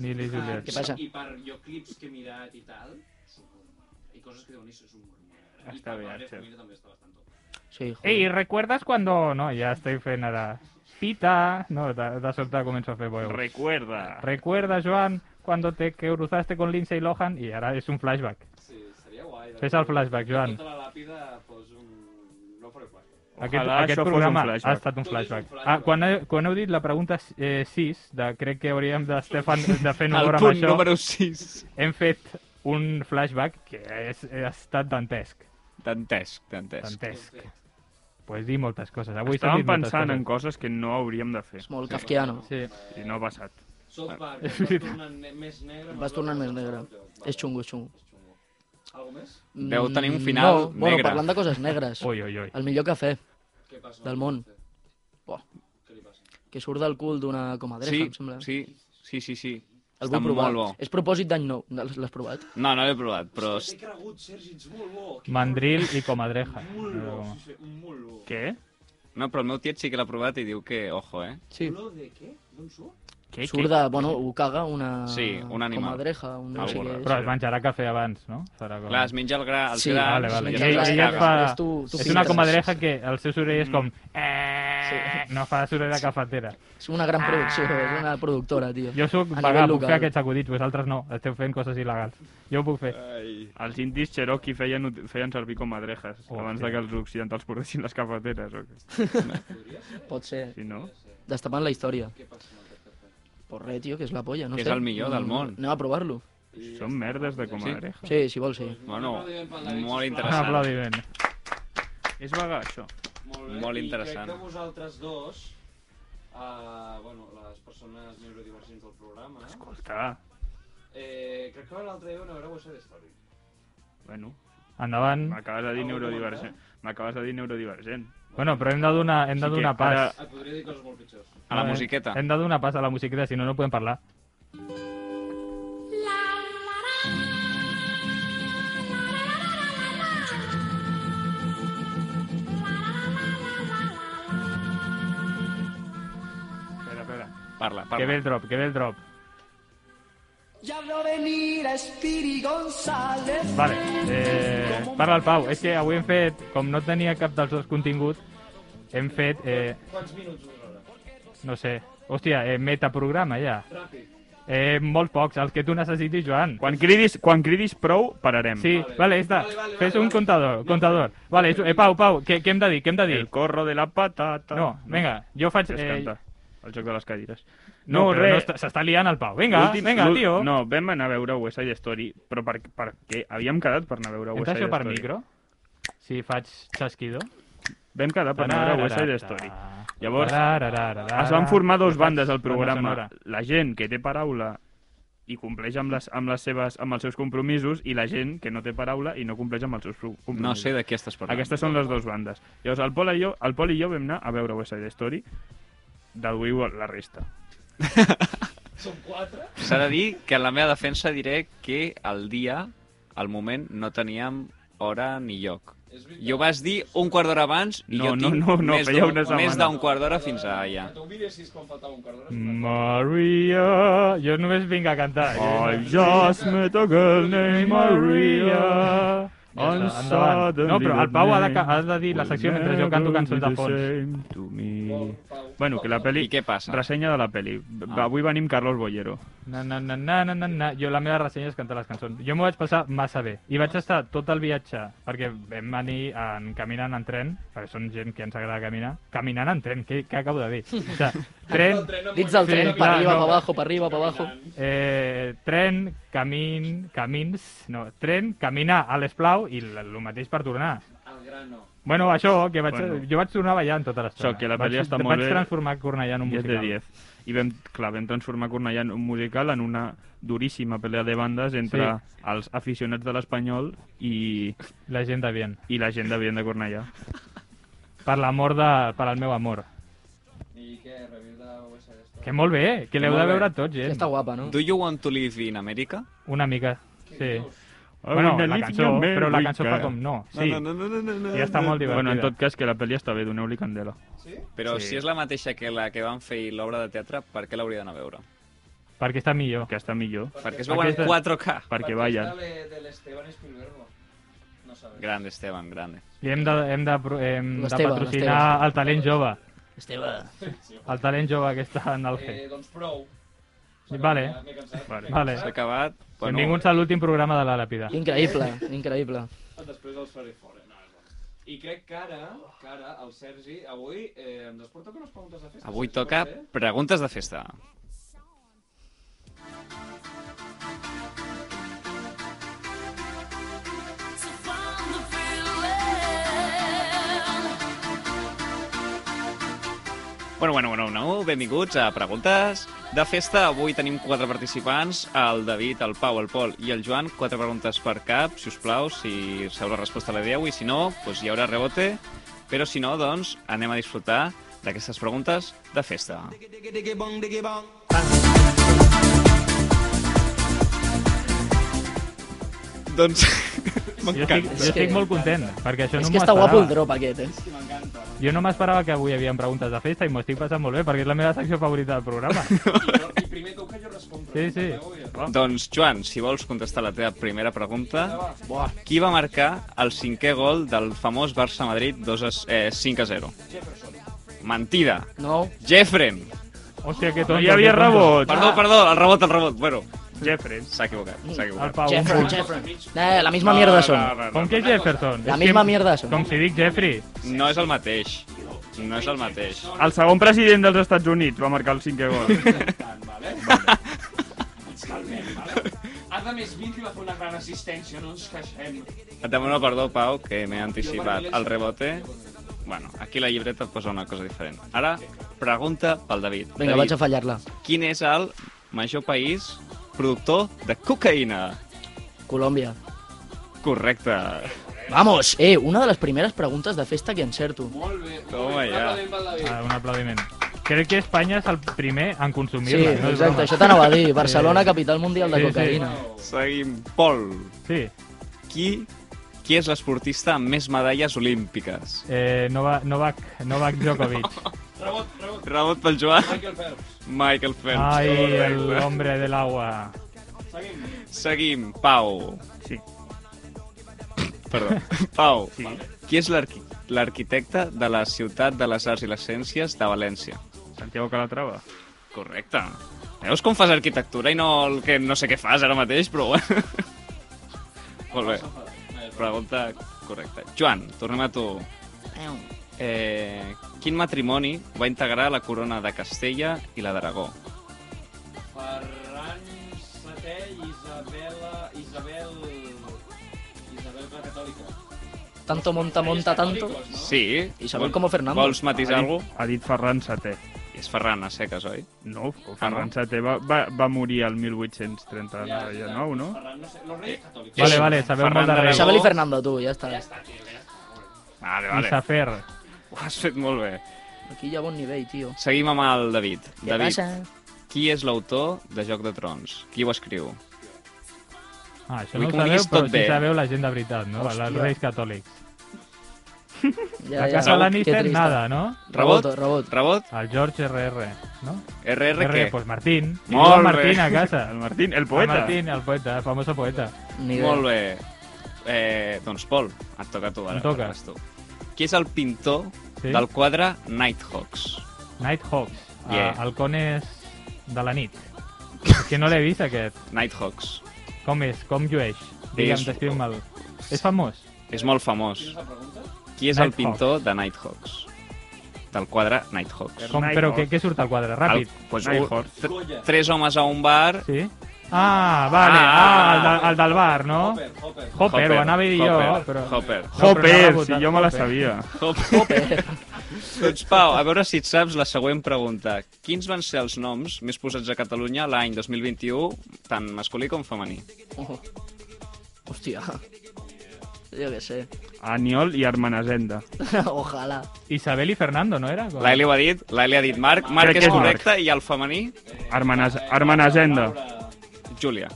E: Nil i Juliet.
G: Què passa?
D: I per jo clips que he mirat i tal, és un humor. I coses que deuen dir, és un humor.
F: Està
D: I per
F: bé,
D: la meva
F: Archer.
D: família també està bastant top.
G: Sí, joder.
E: Ei, ¿recuerdas cuando...? No, ja estic fent ara... Pita! No, de, de sobte començo a fer veus.
F: Recuerda.
E: Recuerda, Joan, cuando te cruzaste con Lindsay Lohan? I ara és un flashback.
D: Sí, seria guai. de
E: Fes
D: fet.
E: el flashback, Joan.
D: Tota la làpida fos un... No faré flashback.
E: Aquest,
F: Ojalà
E: aquest
F: això fos un
E: programa ha
F: flashback.
E: estat un
D: Tot és un
E: flashback.
D: flashback.
E: Ah, quan, he, quan heu dit la pregunta eh, 6, de, crec que hauríem de, Stefan, de fer un
C: El
E: honor amb
C: punt
E: això,
C: número 6.
E: hem fet un flashback que és, ha estat dantesc.
C: Dantesc, dantesc.
E: Dantesc. Pues dir moltes coses. Avui s'han
F: Estàvem
E: dit moltes
F: pensant
E: coses.
F: en coses que no hauríem de fer.
G: És molt kafkiano.
E: Sí.
D: Eh,
F: I no ha passat.
D: South Park,
E: és
D: es vas
E: veritat.
D: tornant ne- més negre...
G: Vas tornant més negre. És xungo, és xungo.
D: És xungo. Algo més?
C: Deu tenir un
G: Mm,
C: final
G: no, Bueno,
C: negre.
G: parlant de coses negres,
E: Ui, ui, ui.
G: el millor cafè
D: Què passa?
G: Del món. Buah.
D: Què li passa?
G: que surt del cul d'una comadreja,
C: Sí,
G: em sembla.
C: sí, sí, sí, sí.
G: El
C: Està
G: vull provar.
C: molt bo.
G: És propòsit d'any nou. L'has l'has provat?
C: No, no l'he provat, però...
D: T'he cregut, Sergi, ets molt bo. Que
E: Mandril i comadreja.
D: Molt bo,
E: No,
D: sí, sí, un molt bo.
F: Què?
C: No, però el meu tiet sí que l'ha provat i diu que, ojo, eh?
G: Sí.
D: Olor de què? D'on surt?
F: Què?
G: Surt de... Bueno, ho caga una...
C: Sí, un animal.
G: Comadreja, un no sé
C: Algo
G: què.
C: raro.
E: Però es menjarà cafè abans, no? Serà com...
C: Clar, es menja el gra, els
G: Sí,
C: grans...
E: Vale, vale.
C: i
E: I,
G: es
E: ella-
C: després
G: menja
E: i
G: el
E: ella
C: caga.
E: fa...
G: Després tu- tu
E: és una
G: filtres.
E: comadreja que el seu soroll és com... "Eh",
G: Sí.
E: No fa soroll de cafetera.
G: És una gran producció, és una productora, tio.
E: Jo sóc
G: A
E: vegà,
G: nivell
E: puc fer
G: local.
E: aquests acudits, vosaltres no, esteu fent coses il·legals. Jo ho puc
G: Eh,
E: fer.
F: Els indis Cherokee feien, ut- feien servir com madrejes
E: Oh,
F: abans
E: sí.
F: de que els occidentals portessin les cafeteres. O què?
G: Pot ser.
F: Si no...
G: Destapant la història.
D: Què passa amb aquest cafè?
G: Pues res, tio, que és la polla, no
C: Que
G: sé. Mm,
C: és el millor del món.
G: Anem a provar-lo.
F: Són merdes de comadreja.
G: Sí, si vols, sí.
C: Bueno, molt
E: Un
C: interessant.
E: aplaudiment.
F: És vaga, això.
D: Molt, bé.
C: Molt
D: I
C: interessant.
D: crec que vosaltres dos, uh, bueno, les persones neurodivergents del programa,
F: Escolta,
D: eh, crec que l'altre dia una veure West Side Story.
F: bueno,
E: Endavant.
F: m'acabes de dir
D: Algú
F: neurodivergent. M'acabes de dir neurodivergent.
E: Bueno, però hem de donar, hem de
F: Sí que
E: donar pas.
F: ara-
D: Et podria dir coses molt pitjors.
C: A la
E: Eh,
C: musiqueta.
E: Hem de donar pas a la musiqueta, si no, no podem parlar.
F: Espera, espera.
C: Parla,
E: Que ve
C: parla.
E: el drop, que ve el drop. Vale, eh, parla el Pau. És que avui hem fet, com no tenia cap dels dos contingut, hem fet, eh,
D: Quants minuts us ara?
E: no sé, hòstia, eh, metaprograma ja.
D: Ràpid.
E: Eh, molt pocs, els que tu necessitis, Joan.
F: Quan cridis, quan cridis prou, pararem.
E: Sí,
D: Vale.
E: vale, esta.
D: Vale, vale,
E: Fes
D: vale,
E: un
D: vale.
E: contador, contador. Vale, és- eh, Pau, Pau, què, què hem de dir, què hem de dir?
F: El corro de la patata.
E: No, vinga, jo faig...
F: Fes
E: Eh,
F: cantar. El joc de les cadires.
E: no,
F: res.
E: però no, està- s'està liant el Pau. Vinga,
F: L'últim-
E: vinga,
F: l'ú-
E: tio.
F: No, vam anar a veure West Side Story, però per, per què? Havíem quedat per anar a veure West
E: Entra
F: Side
E: això per
F: Story.
E: micro? Si faig xasquido.
F: Vam quedar per anar a veure West Side Story. Llavors, Es van formar dos bandes al programa. La gent que té paraula i compleix amb, les, amb, les seves, amb els seus compromisos i la gent que no té paraula i no compleix amb els seus pro- compromisos.
C: No sé de qui estàs parlant.
F: Aquestes són les dues bandes. Llavors, el Pol, i jo, el Pol i jo vam anar a veure West Side Story deduïu la resta.
D: Són quatre?
C: S'ha de dir que en la meva defensa diré que el dia, al moment, no teníem hora ni lloc.
D: És veritat.
C: Jo vas dir un quart d'hora abans i
F: No,
C: jo
F: no,
C: tinc
F: no, no,
C: més
F: feia
C: d'un-
F: una
C: més
F: setmana.
C: d'un quart d'hora fins allà.
D: Que tu miressis quan faltava un quart d'hora.
E: Maria... Jo només vinc a cantar. eh.
F: I just met a girl named Maria.
E: Ja
F: and
E: està, endavant. No, però el Pau ha de, ca- ha de dir la secció mentre jo canto cançons de fons.
F: fons.
D: Pau,
F: Bueno, que la peli...
C: I què passa?
F: Ressenya de la peli.
C: Ah.
F: Avui venim Carlos Bollero.
E: Na, na, na, na, na, na, na. Jo la meva ressenya és cantar les cançons. Jo m'ho vaig passar massa bé. I vaig estar tot el viatge, perquè vam venir en, caminant en tren, perquè són gent que ens agrada caminar. Caminant en tren, què, què acabo de dir? O sigui, tren,
G: Dins del
E: Sí,
G: tren, per
E: clar,
G: arriba,
E: no.
G: per abajo, per arriba, per abajo.
E: eh, tren, camin, camins... No, tren, caminar a l'esplau i l- el mateix per tornar.
D: Al grano.
E: Bueno, això, que vaig,
F: Bueno.
E: jo vaig tornar ballant tota l'estona.
F: Això, que la
E: Vaig-
F: peli està molt
E: Vaig
F: bé.
E: transformar Cornellà en un
F: 10 de
E: musical.
F: 10. I vam, clar, vam transformar Cornellà en un musical en una duríssima pelea de bandes entre sí. els aficionats de l'Espanyol i,
E: La gent de bien.
F: i la gent de Vient de Cornellà.
E: Per l'amor de... Per al meu amor.
D: I què, review de USA d'esto?
E: Que molt bé, eh? que l'heu
C: Molt
E: de
C: bé.
E: veure tots,
G: Que
E: gent.
G: està guapa, no?
C: Do you want to live in America?
E: Una mica, sí.
F: Avui
E: Bueno,
F: una
E: la
F: línia
E: cançó,
F: més
E: però la
F: rica.
E: cançó fa com no. Sí,
C: No, no, no, no, no, no.
E: i està molt divertida.
F: Bueno, en tot cas, que la pel·li està bé, doneu-li candela.
D: Sí?
C: Però
E: Sí.
C: si és la mateixa que la que van fer l'obra de teatre, per què l'hauria d'anar a veure?
E: Perquè està millor.
F: Que està millor,
C: Perquè es veuen en
E: Aquesta-
C: 4K.
F: perquè
D: Esta
F: vayan.
D: de, de l'Esteban Spielbergo. No sabes.
C: Grande, Esteban, grande.
E: I hem de, hem de, pro- hem de
G: L'Esteve,
E: patrocinar
G: l'Esteve.
E: el talent jove.
G: Esteve.
E: El talent jove que està en el G.
D: Eh, doncs prou.
E: Vale.
D: M'he cansat.
F: Vale.
D: m'he
E: Vale.
C: S'ha
D: cansat.
C: acabat. Bueno,
E: Benvinguts a l'últim programa de la Làpida.
G: Increïble, increïble.
D: Després del Sorry For It. No, és bon. I crec que ara, que ara, el Sergi, avui eh, ens porta unes preguntes de festa.
C: avui
D: Sergi,
C: toca
D: pot ser?
C: preguntes de festa. Bueno, bueno, bueno, no. benvinguts a Preguntes de Festa. Avui tenim quatre participants, el David, el Pau, el Pol i el Joan. Quatre preguntes per cap, si us plau, si sabeu la resposta la dieu i si no, doncs hi haurà rebote. Però si no, doncs anem a disfrutar d'aquestes preguntes de festa. Doncs...
E: Jo estic,
C: M'encanta.
E: jo estic molt content, perquè això
G: És
E: no
G: que
E: m'ho
G: està guapo el
E: esperava.
G: drop aquest, eh?
E: Jo no m'esperava que avui hi havia preguntes de festa i m'ho estic passant molt bé, perquè és la meva secció favorita del programa.
D: I, jo, eh? I primer tu que jo responc.
E: Sí, sí.
C: Doncs, Joan, si vols contestar la teva primera pregunta, qui va marcar el cinquè gol del famós Barça-Madrid 2 a, eh, 5 a 0? Mentida.
G: No,
C: Jeffren.
E: Hòstia, que tonto.
F: No hi havia
E: que tonto.
F: rebot!
C: doncs Perdó, perdó, el rebot, el rebot. Bueno,
F: Jeffrey.
C: s'ha equivocat, s'ha
E: El
C: equivocat. Ah,
E: Pau, un
G: Jeffrey,
E: punt.
G: Jeffrey. Eh, la misma mierda són.
E: Com que Jefferson?
G: La
E: És que-
G: misma mierda són.
E: Com si dic Jeffrey.
C: No és el mateix. No és el mateix.
F: El segon president dels Estats Units va marcar el cinquè gol.
D: Ada més 20 i va fer una gran assistència, no ens queixem.
C: Et demano perdó, Pau, que m'he anticipat el rebote. Bueno, aquí la llibreta et posa una cosa diferent. Ara, pregunta pel David.
G: Vinga, vaig
C: David,
G: a fallar-la.
C: quin és el major país productor de cocaïna?
G: Colòmbia.
C: Correcte.
G: Vamos, eh, una de les primeres preguntes de festa que encerto.
D: Molt bé. molt
C: Toma
D: bé. Un
C: ja.
D: aplaudiment pel David.
E: Ah, un aplaudiment. Crec que Espanya és el primer en
G: Sí,
E: consumir-la. no és broma.
G: exacte, això t'anava a dir. Barcelona, capital mundial de
E: Sí, sí.
G: cocaïna.
C: Seguim. Pol,
E: Sí,
C: qui, qui és l'esportista amb més medalles olímpiques?
E: eh, Nova, Novak, Novak Djokovic.
D: Rebot, rebot.
C: Rebot pel Joan,
D: Michael Phelps.
C: Michael Phelps.
E: Ai, el
C: Correcte.
E: hombre del agua.
D: Seguim.
C: Seguim, Pau.
F: Sí.
C: Perdó. Pau,
F: Sí.
C: qui és l'arqui- l'arquitecte de la ciutat de les arts i les ciències de València?
F: Santiago Calatrava.
C: Correcte. Veus com fas arquitectura i no el que no sé què fas ara mateix, però bueno. Molt bé. Pregunta correcta. Joan, tornem a tu. Eh, quin matrimoni va integrar la corona de Castella i la d'Aragó?
D: Ferran Setè, Isabela... Isabel... Isabel la Catòlica.
G: Tanto monta, monta, tanto.
D: Católicos, no?
C: Sí.
G: Isabel
C: Vol-
G: como Fernando.
C: Vols matisar
F: Ha dit-
C: alguna cosa?
F: Ha dit Ferran Setè.
C: És Ferran a seques, oi?
F: No,
C: Ah,
F: Ferran
C: no?
F: Setè va, va, va morir el 1839, no?
D: Ferran, no eh? sé. Los Reyes Católicos.
E: Vale, vale, sabeu
C: Ferran
E: molt de
C: d'Aragó.
E: res.
G: Isabel i Fernando, tu, ja està.
D: Ja està, tio, ja està.
C: Vale,
E: I
C: vale.
E: Safer.
C: Ho has fet molt bé.
G: Aquí hi ha bon nivell, tio.
C: Seguim amb el David.
G: Què
C: David,
G: passa?
C: qui és l'autor de Joc de Trons? Qui ho escriu?
E: Ah, això
C: Vull
E: no ho
C: que ho
E: sabeu,
C: diguis
E: però
C: tot
E: sí
C: bé.
E: sabeu la gent de veritat, no?
G: Hòstia.
E: Els reis catòlics.
G: Ja,
E: la
G: ja.
E: casa
G: Que
E: Lannister,
G: trista.
E: nada, no?
C: Rebot?
G: Rebot, rebot.
C: Rebot?
E: El George RR, no?
C: RR què?
E: pues Martín.
C: Molt
E: Li diuen
C: bé.
E: Martín a casa.
F: El Martín, el
E: El
F: poeta.
E: Martín, el poeta, el famoso poeta.
G: Ni idea.
C: Molt bé. Eh, doncs, Pol, et toca a tu ara.
E: Em toca.
C: vas Tu. Qui és el pintor
E: Sí?
C: del quadre Nighthawks?
E: Nighthawks,
C: Yeah.
E: yeah. halcones de la nit. que no l'he vist, aquest.
C: Nighthawks.
E: Com és? Com llueix? Digue'm,
C: És-
E: descriu'm el... És famós?
C: És molt famós.
D: Quina és la pregunta?
C: Qui és el
E: Nighthawks.
C: pintor de Nighthawks? Del quadre Nighthawks.
E: Com,
F: Nighthawk.
E: però què, què surt al quadre? Ràpid.
C: El, pues, oh,
F: Nighthawks.
C: un- tre-
D: Goya.
C: tres homes a un bar...
E: Sí? Ah, vale.
C: Ah.
E: Ah, el, de, el del bar, no?
D: Hopper, Hopper.
E: Hopper, ho anava a dir jo,
C: Hopper,
E: però...
C: Hopper.
E: No, però
F: Hopper,
E: anava a
F: si
E: votar
F: jo me la
E: Hopper.
F: sabia.
C: Hopper. doncs, Pau, a veure si et saps la següent pregunta. Quins van ser els noms més posats a Catalunya l'any 2021, tant masculí com femení?
G: Oh. Hòstia. Jo què sé.
F: Aniol i Armanasenda.
G: Ojalà.
E: Isabel i Fernando, no era?
C: L'Eli ho ha dit, l'Eli ha dit Marc. Marc
F: Crec
C: és
F: que és Marc.
C: correcte i el femení,
F: Armanas Armanasenda.
C: Júlia.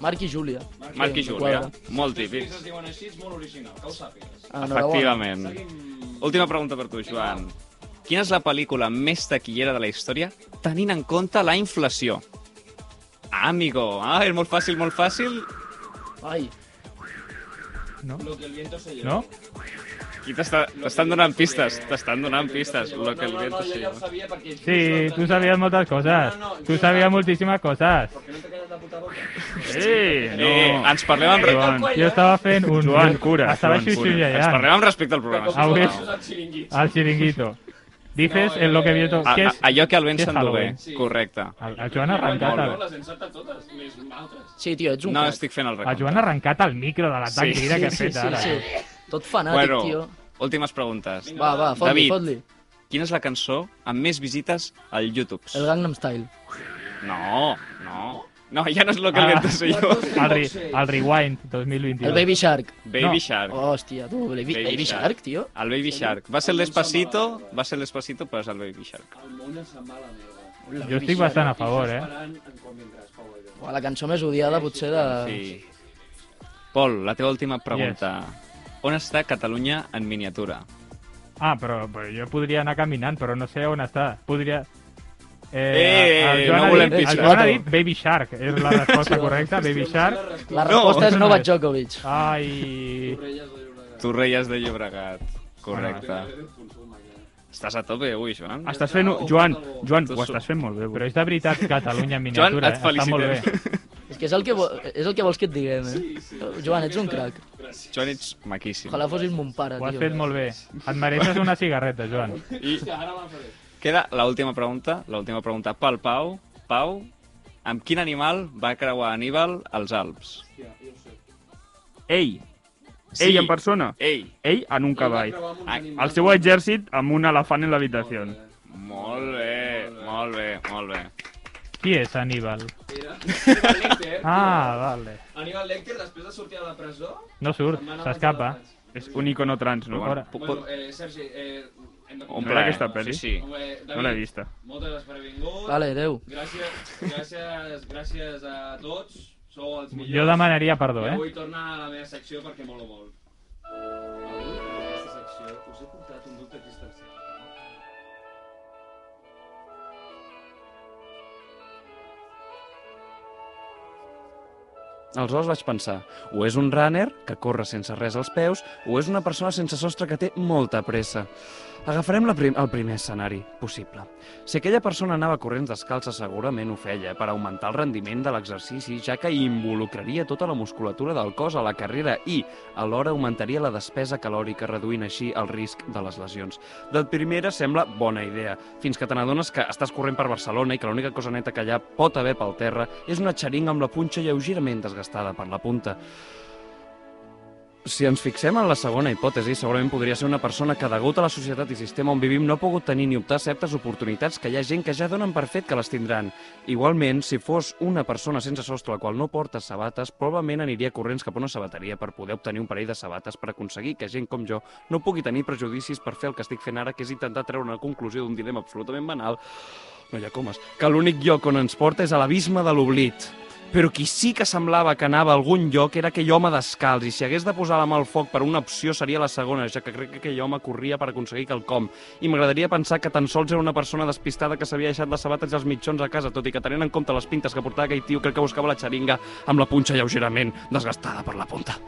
G: Marc i Júlia.
C: Marc i
G: Sí,
C: Júlia.
G: quadra.
C: Molt
D: Els fills
C: típics.
D: es diuen així, és molt original, que ho sàpigues.
G: Enhorabona.
C: Efectivament.
D: Seguim...
C: Última pregunta per tu, Joan. Quina és la pel·lícula més taquillera de la història tenint en compte la inflació? Ah, amigo. Ah, és molt fàcil, molt fàcil.
G: Ai,
E: No?
D: Lo que el viento se lleva.
E: No?
C: Aquí t'està- t'estan donant pistes, t'estan donant pistes. Lo que el viento
D: no, no,
C: se
D: jo ja ho
C: lleva.
D: sabia perquè...
E: Sí, tu sabies moltes coses.
D: No, no, no,
E: Tu
D: jo
E: sabies
D: no.
E: moltíssimes coses.
D: Perquè no t'ha quedat la puta boca.
F: Eh, no.
C: Eh, ens parlem amb, re-
F: Joan.
E: Jo estava fent un...
F: Joan, cura,
E: Estava
F: Joan, cura.
C: ens
E: xuxullallant.
C: parlem amb respecte al
D: Com
C: programa.
D: si
E: Ah, avui-
D: fos el xiringuito.
E: Al xiringuito. Dices
D: No, eh,
E: en lo que vio todo.
C: A,
E: ¿Qué
C: a,
E: es?
C: allò que el vent
E: què és
C: s'endugué.
E: Halloween?
D: Sí.
C: Correcte.
E: El, el Joan ha
D: He guanyat,
E: arrencat
D: no?
E: el,
D: Les he encertat totes, més altres.
G: sí, tio, ets un
C: No
G: crac.
C: estic fent el
E: el
C: recompte.
E: Ah, Joan ha arrencat el micro de la
C: Sí,
E: tanguera que ha
G: sí,
E: fet
G: sí,
E: ara. eh?
G: sí. Tot fanàtic,
C: Bueno,
G: tio.
C: últimes preguntes.
G: Va, va, fot-li,
C: David.
G: fot-li.
C: Quina és la cançó amb més visites al YouTube?
G: El Gangnam Style.
C: No, no. No, ja no és lo que el
E: Ah.
C: viento se lleva.
E: El, re, el Rewind 2021.
G: El Baby Shark.
C: Baby
E: No.
C: Shark.
G: Hòstia, tu, Baby,
C: Baby
G: Baby,
C: Shark.
G: Shark. tio.
C: El Baby Shark. Va ser el Despacito, va ser el Despacito, però és el Baby Shark.
D: El món se'n va a la merda.
E: Jo estic bastant a favor, eh?
D: Esperant en quan vindràs, Pau Aidó.
G: Uah, la cançó més odiada, potser, de...
C: Sí. Pol, la teva última pregunta. On està Catalunya en miniatura?
E: Ah, però, però jo podria anar caminant, però no sé on està. Podria...
C: Eh,
E: el Joan
C: no
E: ha
C: volem
E: dit,
C: pitjors.
E: El Joan ha dit Baby Shark. És la resposta correcta, Baby Shark.
G: La
C: No,
G: resposta és
E: no
G: Novak
E: és.
G: Djokovic.
E: Ai...
D: Torrelles de Llobregat.
C: Torrelles de Llobregat. Correcte.
D: Torrelles del Consum, allà.
C: Estàs a tope avui, Joan.
F: Estàs fent... Joan, Joan, ho estàs fent molt bé.
E: Però
F: avui.
E: és de veritat Catalunya en
C: Joan,
E: miniatura.
C: et
E: eh? Està molt bé.
C: felicitem.
G: És que és el que, vo és el que vols que et diguem, eh? Joan, ets un crac.
D: Gràcies.
C: Joan, ets maquíssim.
G: Ojalà fossis mon pare,
E: Ho has
G: tio.
E: fet molt bé. Et mereixes una cigarreta, Joan.
C: I
D: Hòstia, ara me'n faré.
C: queda l'última pregunta, l'última pregunta pel Pau. Pau, amb quin animal va creuar Aníbal als Alps?
D: Hòstia, jo ho sé.
F: Ell, ell en persona.
C: Ei,
F: Ell en un cavall.
D: Creuar amb uns
C: Ah,
D: animals.
F: El seu exèrcit amb un elefant en l'habitació.
C: molt bé, molt bé, molt bé.
E: Qui és Aníbal?
D: Mira, Aníbal Lecter.
E: Ah, vale.
D: Aníbal Lecter, després de sortir de la presó...
E: No surt,
D: se'n va anar
E: s'escapa.
D: a matar
F: És un icono trans, no?
E: Fora.
C: Puc-
D: Bueno, eh, Sergi, eh, hem de...
C: Un
F: M'agrada
C: plaer.
F: aquesta pel·li.
C: Sí, sí.
D: Home, David,
F: No l'he vista.
D: Moltes gràcies per haver vingut.
G: Vale, adeu.
D: Gràcies, gràcies, gràcies a tots. Sou els millors.
E: Jo demanaria perdó,
D: I
E: eh?
D: avui torna a la meva secció perquè molo molt. Avui, en aquesta secció, us he portat un dubte existencial.
H: Aleshores vaig pensar, o és un runner que corre sense res als peus, o és una persona sense sostre que té molta pressa. Agafarem la prim el primer escenari possible. Si aquella persona anava corrents descalça, segurament ho feia per augmentar el rendiment de l'exercici, ja que involucraria tota la musculatura del cos a la carrera i, alhora, augmentaria la despesa calòrica, reduint així el risc de les lesions. De primera sembla bona idea, fins que te n'adones que estàs corrent per Barcelona i que l'única cosa neta que allà pot haver pel terra és una xeringa amb la punxa lleugerament desgastada per la punta.
D: Si ens fixem en la segona hipòtesi, segurament podria ser una persona que, degut a la societat i sistema on vivim, no ha pogut tenir ni optar a certes oportunitats que hi ha gent que ja donen per fet que les tindran. Igualment, si fos una persona sense sostre la qual no porta sabates, probablement aniria corrents cap a una sabateria per poder obtenir un parell de sabates per aconseguir que gent com jo no pugui tenir prejudicis per fer el que estic fent ara, que és intentar treure una conclusió d'un dilema absolutament banal no hi ha comes, que l'únic lloc on ens porta és a l'abisme de l'oblit. Però qui sí que semblava que anava a algun lloc era aquell home descalç, i si hagués de posar la mà al foc per una opció seria la segona, ja que crec que aquell home corria per aconseguir quelcom. I m'agradaria pensar que tan sols era una persona despistada que s'havia deixat les sabates i els mitjons a casa, tot i que tenint en compte les pintes que portava aquell tio, crec que buscava la xeringa amb la punxa lleugerament desgastada per la punta.